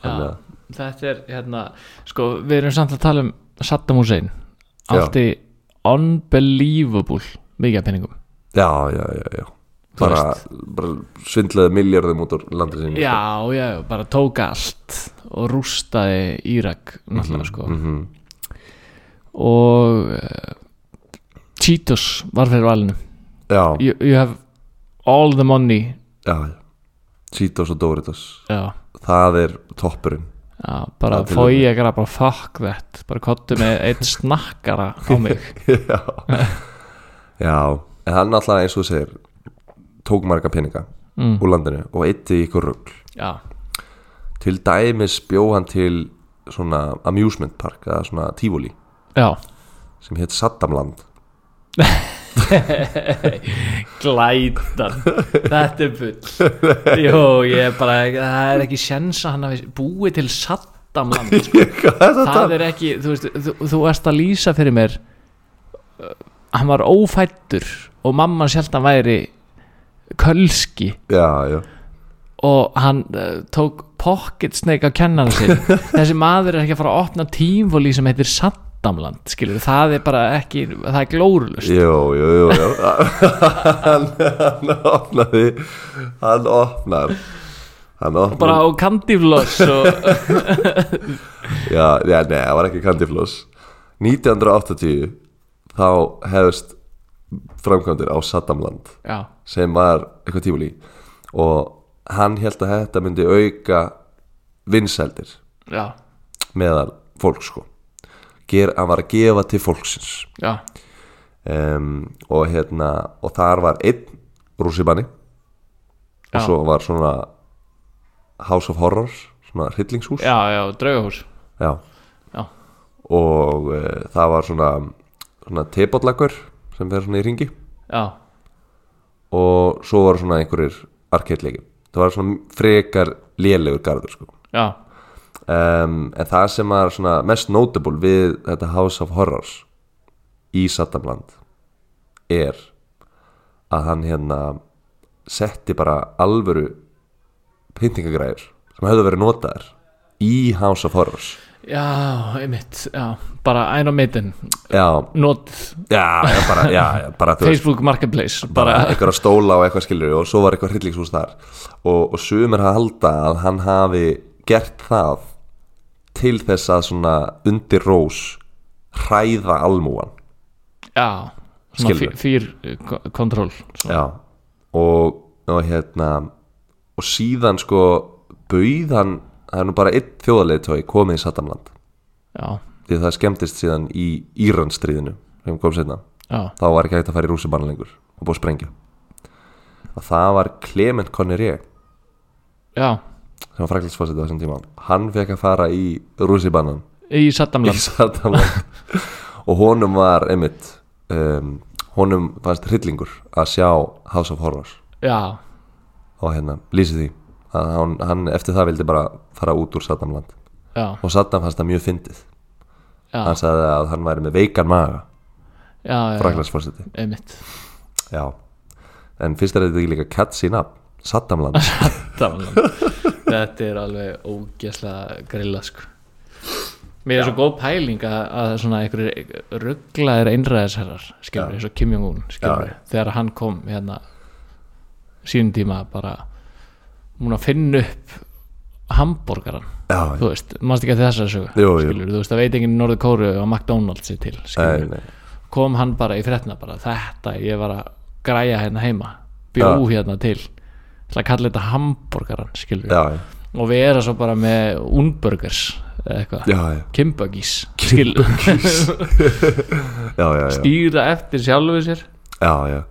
Speaker 1: þannig
Speaker 2: já,
Speaker 1: að,
Speaker 2: þetta er hérna sko, við erum samt að tala um Saddam Hussein átti unbelievable mikið af penningum
Speaker 1: já, já, já, já bara, bara svindlaði miljörðum út úr landri sinni
Speaker 2: Já, já, bara tók allt og rústaði Írak náttúrulega sko
Speaker 1: Mhm.
Speaker 2: og uh, Cheetos var fyrir valinu
Speaker 1: já, já,
Speaker 2: you, you have all the money
Speaker 1: já Cheetos og Doritos
Speaker 2: Já,
Speaker 1: það er toppurinn
Speaker 2: já bara
Speaker 1: Það er
Speaker 2: fó
Speaker 1: til-
Speaker 2: í ekkur bara fuck that bara kottu með einn snakkara á mig
Speaker 1: já. já, en hann alltaf eins og þú segir tók marga peninga
Speaker 2: mm,
Speaker 1: úr landinu og eitti ykkur rugl
Speaker 2: Já,
Speaker 1: til dæmis bjó hann til svona amusement park eða svona tífúli
Speaker 2: já
Speaker 1: sem hétt Saddamland
Speaker 2: Glætan Þetta er bull Jó, ég er bara, það er ekki sjens að hann hafi búið til Saddam land sko. Það er ekki, þú veist þú, þú erst að lýsa fyrir mér uh, Hann var ófættur og mamman sjálf hann væri kölski
Speaker 1: já, já,
Speaker 2: og hann uh, tók pocket snake á kennan sinn þessi maður er ekki að fara að opna tímfóli sem heitir Saddamland skilur, það er bara ekki, það er glórulust
Speaker 1: jú, jú, jú, jú. hann, hann opnaði hann opnar hann opnar
Speaker 2: bara á kandifloss og
Speaker 1: já, já, nei, það var ekki kandifloss 1980 þá hefðist framkvæmdir á Saddamland
Speaker 2: já,
Speaker 1: sem var eitthvað tífúli og hann held að þetta myndi auka vinsældir
Speaker 2: já,
Speaker 1: meðal fólk sko Ger, hann var að gefa til fólksins
Speaker 2: já,
Speaker 1: um, og hérna og þar var einn rússimanni og
Speaker 2: Já.
Speaker 1: svo var svona House of Horrors svona hryllingshús
Speaker 2: já, já, draugahús
Speaker 1: Já.
Speaker 2: Já.
Speaker 1: og uh, það var svona, svona tebollakur sem fer svona í ringi
Speaker 2: Já,
Speaker 1: og svo var svona einhverjir arkeitleiki það var svona frekar lélegur garður sko.
Speaker 2: já,
Speaker 1: um, en það sem var svona mest notable við þetta House of Horrors í Saddamland er að hann hérna setti bara alvöru pyntingagræður sem hefðu verið notaðar í House of Horrors
Speaker 2: já, einmitt já, bara Iron Maiden
Speaker 1: já,
Speaker 2: not
Speaker 1: já, já, bara, já, já, bara þú veist
Speaker 2: Facebook Marketplace
Speaker 1: bara
Speaker 2: bara,
Speaker 1: einhverja stóla og eitthvað skilur og svo var eitthvað hryllingshús þar og, og sumir að halda að hann hafi gert það til þess að svona undir rós hræða almúan
Speaker 2: já, svona
Speaker 1: Skilur.
Speaker 2: fý- fýr eh, kontról
Speaker 1: já og, og hérna og síðan sko bauð hann það er nú bara einn þjóðarleiðtói komið í Saddamland
Speaker 2: já,
Speaker 1: því að það skemmtist síðan í Íransstríðinu sem kom setna,
Speaker 2: já,
Speaker 1: þá var ekki hægt að fara í rússibanna lengur og búið að sprengja og það var Clement Connery
Speaker 2: já
Speaker 1: sem var frækilsfósit á þessum tíma hann fekk að fara í rússibannan
Speaker 2: í Saddamland
Speaker 1: í Saddamland og honum var einmitt um, honum fannst hryllingur að sjá House of Horrors
Speaker 2: já,
Speaker 1: og hérna lýsi því að hann, hann eftir það vildi bara fara út úr Saddamland
Speaker 2: já,
Speaker 1: og Saddam fannst það mjög fyndið
Speaker 2: já,
Speaker 1: hann sagði að hann væri með veikan maga
Speaker 2: já, já,
Speaker 1: frækilsfósiti
Speaker 2: einmitt
Speaker 1: já en fyrst er þetta ekki líka catchy nafn Saddamland
Speaker 2: Saddamland þetta er alveg ógesla grilla sko mér er svo góð pæling að, að svona einhverjir rugglaðir einræðisherrar skilur,
Speaker 1: Já.
Speaker 2: eins og Kim Jong-un skilur,
Speaker 1: Já.
Speaker 2: þegar hann kom hérna sínum tíma bara múin að finna upp hambúrgaran,
Speaker 1: já,
Speaker 2: þú veist, mannst ekki að þessar sögu
Speaker 1: Jú, jú.
Speaker 2: skilur, þú veist, það veit enginn í Norður Kóru og McDonalds er til,
Speaker 1: nei,
Speaker 2: skilur
Speaker 1: nei,
Speaker 2: kom hann bara í fréttina bara þetta ég var að græja hérna heima bjó
Speaker 1: Ja.
Speaker 2: hérna til til að kalla þetta hambúrgaran skilur við.
Speaker 1: já,
Speaker 2: og við erum svo bara með unburgers eða eitthvað
Speaker 1: já, já,
Speaker 2: kimbuggies skilur við.
Speaker 1: já, já, já.
Speaker 2: stýra eftir sjálfu sér
Speaker 1: Já, já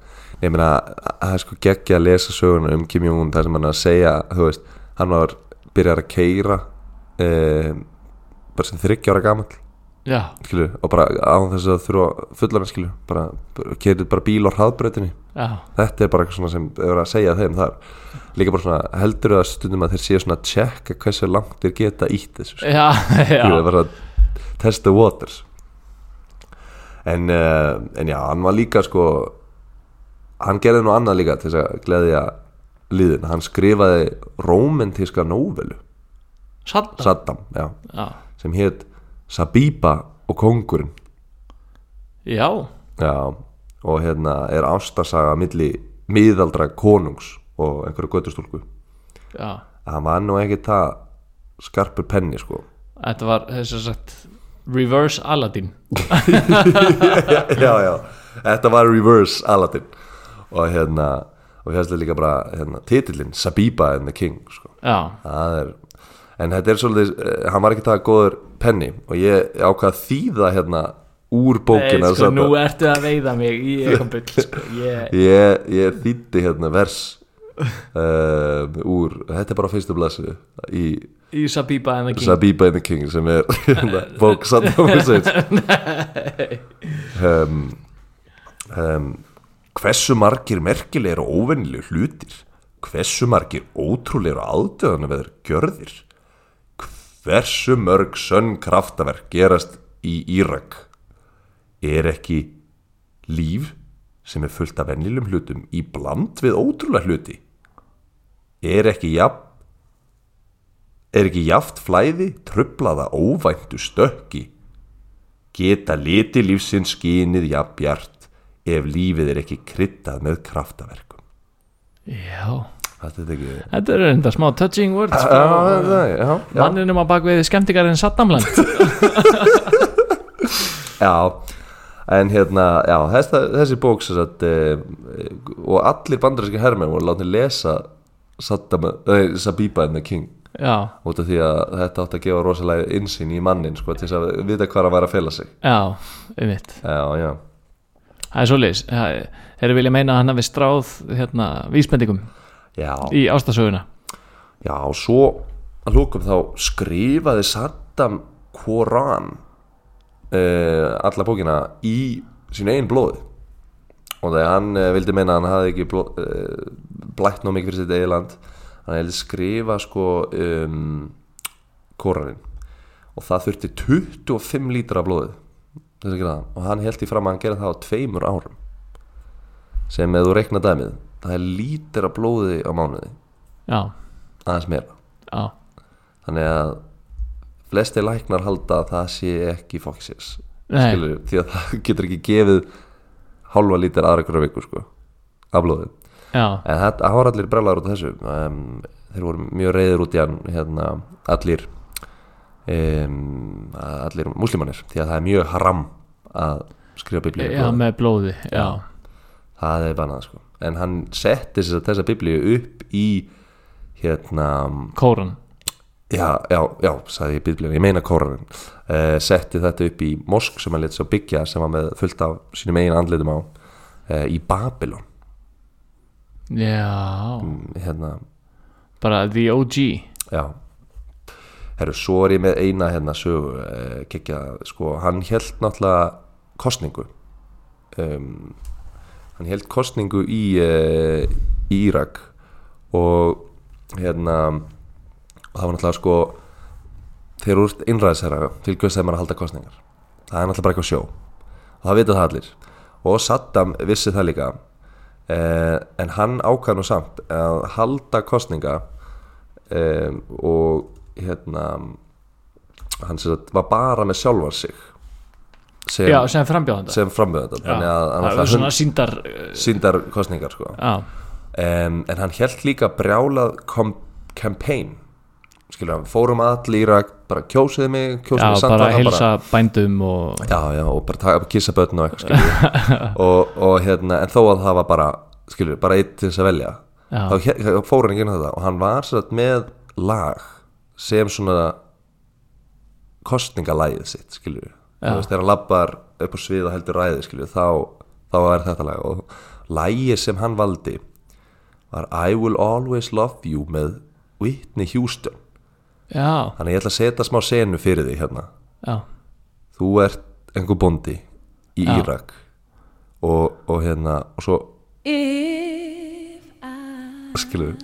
Speaker 1: Nei, Ég meina, það er sko geggja að lesa söguna um Kim Jong-un þar sem hann er að segja, þú veist hann var byrjar að keira eh, bara sem 30 ára gamall
Speaker 2: já,
Speaker 1: skilu, og bara án þess að þurfa fullan skilu, bara, bara keirið bara bíl á hraðbreytinni,
Speaker 2: já,
Speaker 1: þetta er bara eitthvað svona sem er verið að segja þeim þar líka bara svona, heldur það stundum að þeir séu svona að tjekka hversu langt þeir geta ítt þessu sko.
Speaker 2: já,
Speaker 1: Jú,
Speaker 2: já.
Speaker 1: bara test the waters en, uh, en já, hann var líka sko hann gerði nú annað líka til þess að gleðja liðin, hann skrifaði romantíska nóvelu,
Speaker 2: satt
Speaker 1: Saddam já,
Speaker 2: já,
Speaker 1: sem hétt Sabiba og kongurinn
Speaker 2: já,
Speaker 1: já, og hérna er ástasaga milli miðaldra konungs og einhverju göttustúlku
Speaker 2: já
Speaker 1: hann var nú ekki það skarpur penni sko
Speaker 2: þetta var þess að sagt reverse Aladdin
Speaker 1: já, já, þetta var reverse Aladdin og hérna og hérna líka bara hérna, titillin Sabiba and the King sko.
Speaker 2: já,
Speaker 1: það er, en þetta er svolítið eh, hann var ekki það góður penni og ég ákvað að þýða hérna úr
Speaker 2: Nei,
Speaker 1: bókina
Speaker 2: sko,
Speaker 1: Saddam.
Speaker 2: nú ertu að veiða mig í eitthvað bull sko. ég,
Speaker 1: ég, ég þýtti hérna vers uh, úr, þetta er bara á fyrstu blassu í
Speaker 2: í Sabiba en það
Speaker 1: Sabiba and the King sem er hérna, bók Saddam Hussein um, um, Hversu margir merkilegir og óvennilegir hlutir Hversu margir ótrúlegir og aðdöðan að verður gjörðir Hversu mörg sönn kraftaverk gerast í Írak Er ekki líf sem er fullt af vennilegum hlutum í bland við ótrúlega hluti Er ekki jafn Er ekki jaft flæði, trublaða óvæntu stökki? Geta liti lífsins skinið jafnbjart ef lífið er ekki kryddað með kraftaverkum.
Speaker 2: já
Speaker 1: Þetta er ekki...
Speaker 2: Þetta eru enda smá touching words
Speaker 1: Já,
Speaker 2: sko.
Speaker 1: það er, já, já.
Speaker 2: Manninum á bakveiði skemmtikarinn Saddamland
Speaker 1: Já, en hérna, já, þessi, þessi bók sem sagt, e, og allir bandarinski herrmenn voru látni lesa Saddam, e, Sabiba and the King
Speaker 2: Já,
Speaker 1: út af því að þetta átti að gefa rosalega insýn í mannin, sko, til þess að vita hvað hann var að fela sig.
Speaker 2: já, um mitt
Speaker 1: Já, já.
Speaker 2: Það er svoleiðis Það er vilja meina að hann hafi stráð hérna, vísbendingum
Speaker 1: Já.
Speaker 2: í ástasöguna
Speaker 1: Já, og svo að lókum þá skrifaði Saddam Koran uh, alla bókina í sínu einn blóði og þegar hann uh, vildi meina að hann hafði ekki bló, uh, blætt nóg mikið fyrir sitt eigiland hann hefði skrifa sko um, Koranin og það þurfti 25 lítra af blóði til þess að gera það og hann held í fram að hann gera það á tveimur árum sem ef þú reikna dæmið það er lítra af blóði á mánuði
Speaker 2: Já,
Speaker 1: aðeins meira
Speaker 2: já,
Speaker 1: þannig að flesti læknar halda að það sé ekki fóksis
Speaker 2: Nei.
Speaker 1: skilur, því að það getur ekki gefið hálfa lítir aðra ykkur viku sko, af blóði
Speaker 2: já,
Speaker 1: en þetta það var allir brellar út af þessu um, þeir voru mjög reyðir út í hann hérna, allir um, allir múslimanir því að það er mjög haram að skrifa biblíu í
Speaker 2: já
Speaker 1: blóði.
Speaker 2: með blóði Já,
Speaker 1: það er bannað sko en hann setti þessa, þessa biblíu upp í hérna
Speaker 2: kóran
Speaker 1: já, já, já, sagði ég bíblíun ég meina kórarin, uh, setti þetta upp í mosk sem hann létt svo byggja sem var með fullt af sínum eigin andlitum á uh, í Babylon
Speaker 2: Já,
Speaker 1: Mm, hérna,
Speaker 2: bara the OG
Speaker 1: já herru, svo er ég með eina hérna sögu, uh, kekja, sko hann held náttúrulega kostningu um, hann held kostningu í, uh, í Írak og hérna það var náttúrulega sko þegar úr innræðisherra til hvers þegar maður að halda kostningar það er náttúrulega bara eitthvað sjó og það vita það allir og Saddam vissi það líka eh, en hann ákvað nú samt að halda kostninga eh, og hérna hann sem sagt var bara með sjálfan sig sem,
Speaker 2: Já, sem frambjóðanda
Speaker 1: sem frambjöðan
Speaker 2: Já,
Speaker 1: þannig að hann
Speaker 2: það er
Speaker 1: alltaf
Speaker 2: svona síndar
Speaker 1: síndar kostningar sko.
Speaker 2: Já,
Speaker 1: um, en hann held líka brjálað kom, campaign skilur hann, fórum all í Irak bara kjósiði mig,
Speaker 2: já
Speaker 1: kjósiði mig
Speaker 2: bara
Speaker 1: Santana,
Speaker 2: heilsa bændum og
Speaker 1: já, já, og bara taka, kissa börn og eitthvað skilur og, og hérna, en þó að það var bara skilur, bara eitt til þess að velja
Speaker 2: Já.
Speaker 1: þá hér- þá fór hann ekki inn á þetta og hann var sér að með lag sem svona kostningalæðið sitt skilur þú veist, þegar hann labbar upp á svið og heldur ræði skilur, þá, þá er þetta lag og lægið sem hann valdi var I Will Always Love You með Whitney Houston
Speaker 2: Já,
Speaker 1: þannig ég ætla að setja smá senu fyrir því hérna
Speaker 2: já,
Speaker 1: þú ert einhver bóndi í
Speaker 2: Já.
Speaker 1: Írak og, og hérna og svo
Speaker 3: If I
Speaker 1: skilur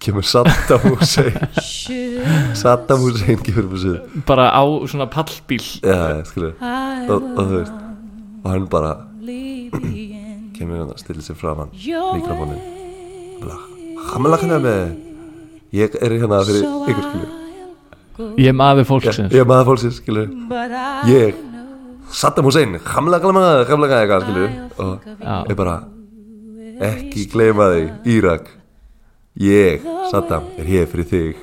Speaker 1: kemur Saddam Hussein
Speaker 3: should,
Speaker 1: Saddam Hussein kemur upp á sig
Speaker 2: bara á svona pallbíl
Speaker 1: já, skilur
Speaker 3: I
Speaker 1: og, og
Speaker 3: will
Speaker 1: þú veist og hann bara
Speaker 3: leave the end
Speaker 1: kemur hérna stillir sér fram hann
Speaker 3: your
Speaker 1: Mikrofóninn.
Speaker 3: way.
Speaker 1: hamlakan er með ég er hérna fyrir
Speaker 3: So
Speaker 1: ykkur skilur
Speaker 3: I'll go,
Speaker 2: Ég er maður
Speaker 1: Já,
Speaker 2: fólksins
Speaker 1: ég er maður fólksins skilur
Speaker 3: but I
Speaker 1: ég
Speaker 3: know
Speaker 1: Saddam Hussein hamlakan er hamlakan eitthvað skilur
Speaker 3: I'll
Speaker 1: og
Speaker 3: think of
Speaker 2: Já,
Speaker 1: er bara ekki gleyma þig Írak ég, Saddam, er hér fyrir þig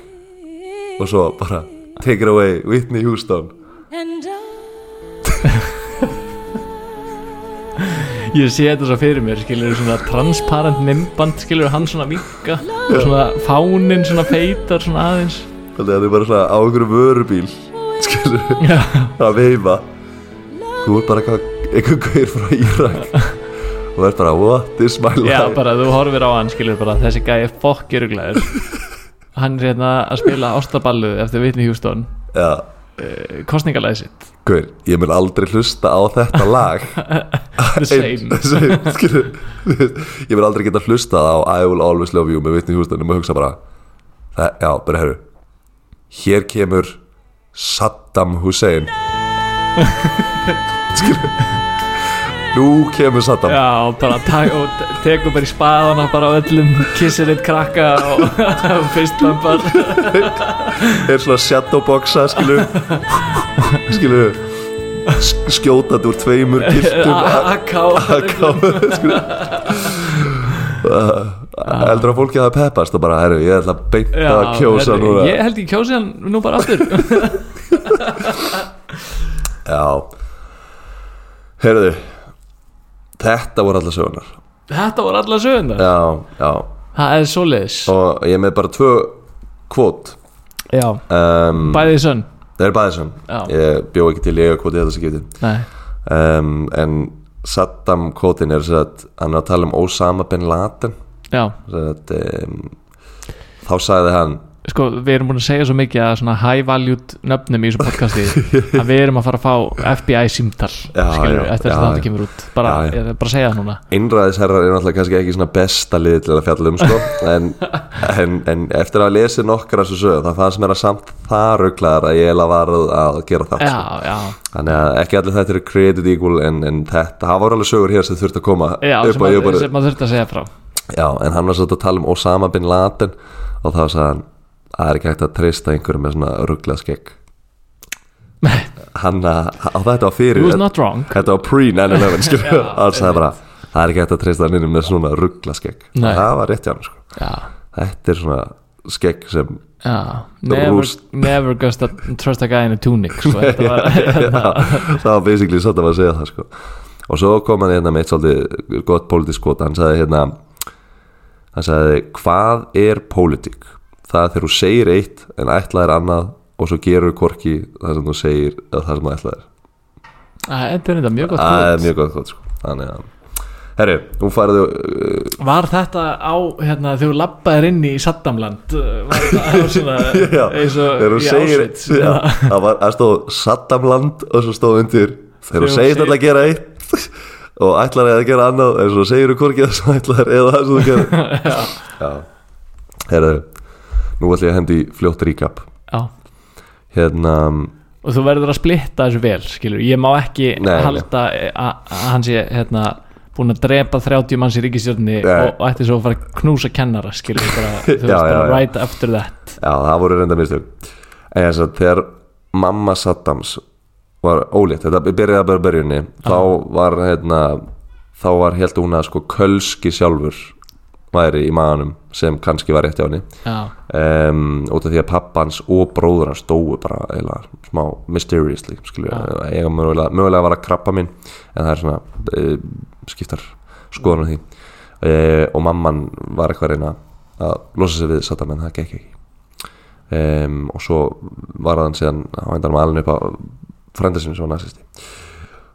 Speaker 1: og svo bara take it away, Whitney Houston
Speaker 3: you and I
Speaker 2: Ég sé þetta svo fyrir mér, skilur svona transparent mymband, skilur hann svona vinka og svona fáninn svona feitar svona aðeins
Speaker 1: þannig að þau bara svona á einhverju vörubíl skilur,
Speaker 2: Já,
Speaker 1: að veifa þú er bara eitthvað einhver gaur frá Írak og er bara what is my life
Speaker 2: Já bara þú horfir á hann, skilur bara þessi gæi er fokkjöruglæður Hann er hérna að spila ástaballu eftir Whitney Houston
Speaker 1: Já,
Speaker 2: kostningalæði sitt
Speaker 1: gaur, ég mun aldrei hlusta á þetta lag
Speaker 2: The same
Speaker 1: Einn- same, skilur Þú veist, ég verð aldrei geta hlustað á I will always love you með Whitney Houston um að hugsa bara það, já, bara herru hér kemur Saddam Hussein skilur nú kemur Saddam
Speaker 2: Já, og bara tak, og te- tekur bara í spaðana bara á öllum, kissir eitt krakka og fyrstlampar
Speaker 1: er svona shadowboxa skilur skilur sk- skjótandi úr tveimur
Speaker 2: Ah.
Speaker 1: giftum
Speaker 2: Akká
Speaker 1: aðkáð heldur Ah, að fólki hafa peppast og bara, herru, ég ætla að beinta að kjósa
Speaker 2: herri,
Speaker 1: núna
Speaker 2: Ég held ég kjósi hann nú bara aftur
Speaker 1: já herru þetta voru allar sögunar
Speaker 2: Þetta voru alla sögundar
Speaker 1: já, já,
Speaker 2: Það er svoleiðis
Speaker 1: og ég er með bara tvö kvót
Speaker 2: Já,
Speaker 1: um,
Speaker 2: bæðið sönn
Speaker 1: það er bæðið sem
Speaker 2: Já.
Speaker 1: ég bjó ekki til ég kvóti þetta sem getið
Speaker 2: Nei,
Speaker 1: um, en Saddam kvótin er sem sagt, hann er að tala um Osama bin Laden
Speaker 2: já,
Speaker 1: sem sagt, um, þá sagði hann
Speaker 2: sko við erum búin að segja svo mikið að svona high valued nöfnum í þessu podcasti að við erum að fara að fá FBI símtal
Speaker 1: Já,
Speaker 2: skilur,
Speaker 1: já,
Speaker 2: eftir þess
Speaker 1: já,
Speaker 2: að þetta
Speaker 1: já.
Speaker 2: kemur út bara,
Speaker 1: Já, já.
Speaker 2: ég er bara að segja það núna
Speaker 1: Einræðisherrar er náttúrulega kannski ekki svona besta liði til að fjalla um sko en, en, en eftir að lesi nokkra þessu sögum það fannst mér að samt það rugglaðar að ég heila varð að gera það
Speaker 2: Já,
Speaker 1: sko.
Speaker 2: já,
Speaker 1: Þannig að ekki allir þetta eru created equal en, en þetta, það voru alveg sögur hér sem þurfti að koma
Speaker 2: já
Speaker 1: upp
Speaker 2: sem,
Speaker 1: á
Speaker 2: að,
Speaker 1: ég bara
Speaker 2: sem maður þurfti að segja frá
Speaker 1: Já, en hann var svolítið að tala um Osama bin Laden og þá sagði hann það er ekki hægt að treysta einhverjum með svona rugglað skegg
Speaker 2: Nei,
Speaker 1: Hann að, á þetta var
Speaker 2: he
Speaker 1: fyrir
Speaker 2: was not wrong
Speaker 1: Þetta var pre-9-11 skilur við. Hann sagði bara, það er ekki hægt að treysta hann innum með svona rugglaskegg
Speaker 2: Nei.
Speaker 1: Það var rétt hjá hann sko
Speaker 2: Já,
Speaker 1: Þetta er svona skegg sem
Speaker 2: já Never,
Speaker 1: Rúst.
Speaker 2: never gust a, trust a guy in a tunic sko, þetta var,
Speaker 1: það var basically satt að maður segja það sko og svo kom hann hérna með eitt svolítið gott pólitísk skot, hann sagði hérna hann sagði hvað er pólitík það er þegar þú segir eitt en ætlað er annað og svo gerur hvorki það sem þú segir eða það sem þú ætlað er
Speaker 2: Æ, Þetta er þetta mjög gott
Speaker 1: það er
Speaker 2: kvöld.
Speaker 1: mjög gott kvot sko. þannig að herru, nú farðu uh,
Speaker 2: Var þetta á, hérna, þegar þú labbaðir inn í Saddamland uh, Var þetta á svona,
Speaker 1: Já,
Speaker 2: eins og
Speaker 1: þegar þú
Speaker 2: í
Speaker 1: segir
Speaker 2: Auschwitz,
Speaker 1: já,
Speaker 2: eða-
Speaker 1: það, var, það stóð Saddamland og svo stóð undir þegar þú segir þetta að gera eitt og ætlar að gera annað en svo segir þú hvorki það sem ætlar eða það sem þú gerir já, herru nú ætlum ég að hendi í fljótt recap
Speaker 2: Já,
Speaker 1: hérna,
Speaker 2: og þú verður að splitta þessu vel skilur, ég má ekki
Speaker 1: Nei, nei.
Speaker 2: halda eh, að að hann sé hérna búin að drepa 30 manns í ríkistjórni
Speaker 1: Nei.
Speaker 2: og, og ætti svo að fara að knúsa kennara skilur, bara, þú veist,
Speaker 1: Já, já,
Speaker 2: bara
Speaker 1: já.
Speaker 2: right after that
Speaker 1: já, það voru reynda mistök en þess að þegar mamma Saddams var ólétt þetta byrjaði bara í börjunni þá var hérna þá var held hún að sko kölski sjálfur væri í maðanum sem kannski var rétt hjá henni
Speaker 2: já,
Speaker 1: um, út af því að pappans og bróður hans dóu bara eila, smá mysteriously skilju,
Speaker 2: Já.
Speaker 1: eiga mögulega, mögulega var að krabba minn en það er svona uh, skiptar skoðan á því uh, og mamman var eitthvað að reyna að losa sig við Saddam en það gekk ekki um, og svo var hann síðan á endanum alveg upp á frænda sinni sem var nazisti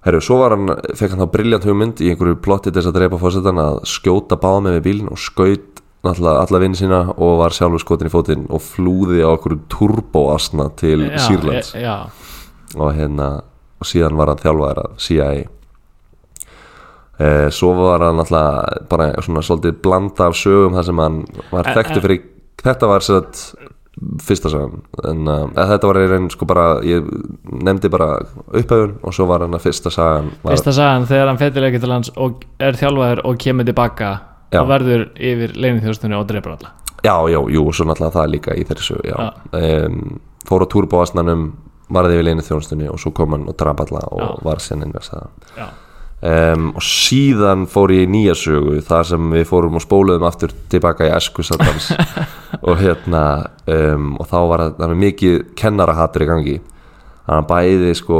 Speaker 1: Herru, svo var hann, fekk hann þá briljant hugmynd í einhverju plotti til þess að dreipa fórsetan að skjóta báða með við bílinn og skaut náttúrulega alla vinn sína og var sjálfur skotin í fótinn og flúði á einhverju turboasna til
Speaker 2: já, e-
Speaker 1: Sýrlands
Speaker 2: já, já,
Speaker 1: og hérna og síðan var hann þjálfaðar af CIA eh, svo var hann náttúrulega bara svona svolítið blanda af sögum þar sem hann var
Speaker 2: En- en-
Speaker 1: þekktu fyrir þetta var sér að fyrsta sagan en uh, þetta var í raun sko bara ég nefndi bara upphæfun og svo var hann að fyrsta sagan var,
Speaker 2: fyrsta sagan þegar hann fetir leikir til lands og er þjálfaður og kemur tilbaka
Speaker 1: Já.
Speaker 2: og verður yfir leinithjóðstunni og dreipur alla
Speaker 1: Já, já, jú, og svo náttúrulega það líka í þeirri sög
Speaker 2: Já.
Speaker 1: um, Fór á túrbóasnanum varði við leinu þjónustunni og svo kom hann og draf alla og
Speaker 2: Já.
Speaker 1: var sinn innversaða
Speaker 2: já,
Speaker 1: um, og síðan fór ég í nýja sögu þar sem við fórum og spóluðum aftur tilbaka í esku sattans og hérna um, og þá var það var mikið kennarahatur í gangi þannig að hann bæði sko